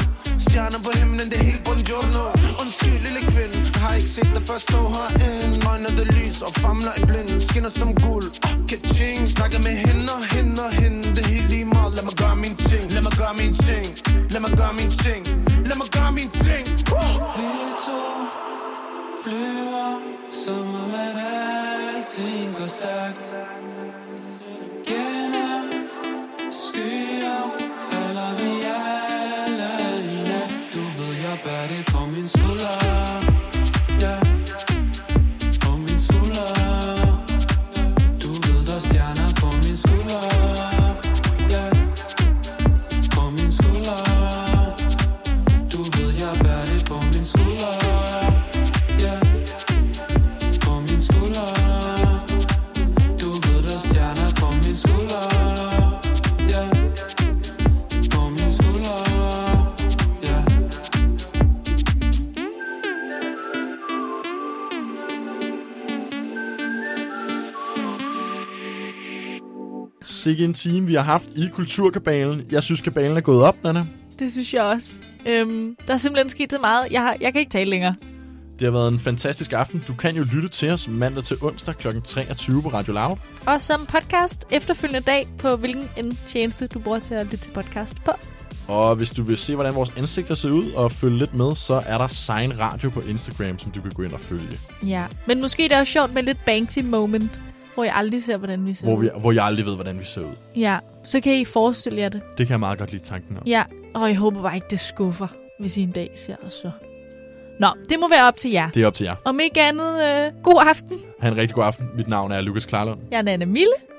F: Stjerner på himlen, det er helt buongiorno Undskyld, lille kvinde Har ikke set dig først stå herinde Øjne, der lys og famler i blinden Skinner som guld, ah, ka-ching Snakker med hende og hende og hende Det er helt lige meget, lad mig gøre min ting Lad mig gøre min ting Lad mig gøre min ting Lad mig gøre min ting uh!
E: Vi to flyver, som om at alting går stærkt. Gennem skyer falder vi alle i nat. Du ved, jeg bærer det på min skulder. Ja, på min skulder. Du ved, der er stjerner på min skulder. Ja, på min skulder. Du ved, jeg bærer det på min skulder Ja, på min skulder Du ved, der er stjerner på min skulder Ja, på min skulder Ja
B: Sikke en time, vi har haft i Kulturkabalen. Jeg synes, kabalen er gået op, Nana.
A: Det synes jeg også. Øhm, der er simpelthen sket så meget. Jeg, har, jeg kan ikke tale længere.
B: Det har været en fantastisk aften. Du kan jo lytte til os mandag til onsdag kl. 23 på Radio Loud.
A: Og som podcast efterfølgende dag på hvilken en tjeneste, du bruger til at lytte til podcast på.
B: Og hvis du vil se, hvordan vores ansigter ser ud og følge lidt med, så er der Sign Radio på Instagram, som du kan gå ind og følge.
A: Ja. Men måske det er også sjovt med lidt Banksy moment, hvor jeg aldrig ser, hvordan vi ser
B: Hvor,
A: ud.
B: vi, hvor jeg aldrig ved, hvordan vi ser ud.
A: Ja, så kan I forestille jer det.
B: Det kan jeg meget godt lide tanken om.
A: Ja, og jeg håber bare ikke, det skuffer, hvis I en dag ser os så. Nå, det må være op til jer.
B: Det er op til jer.
A: Om ikke andet, øh, god aften.
B: Ha' en rigtig god aften. Mit navn er Lukas Klarlund.
A: Jeg er Anne Mille.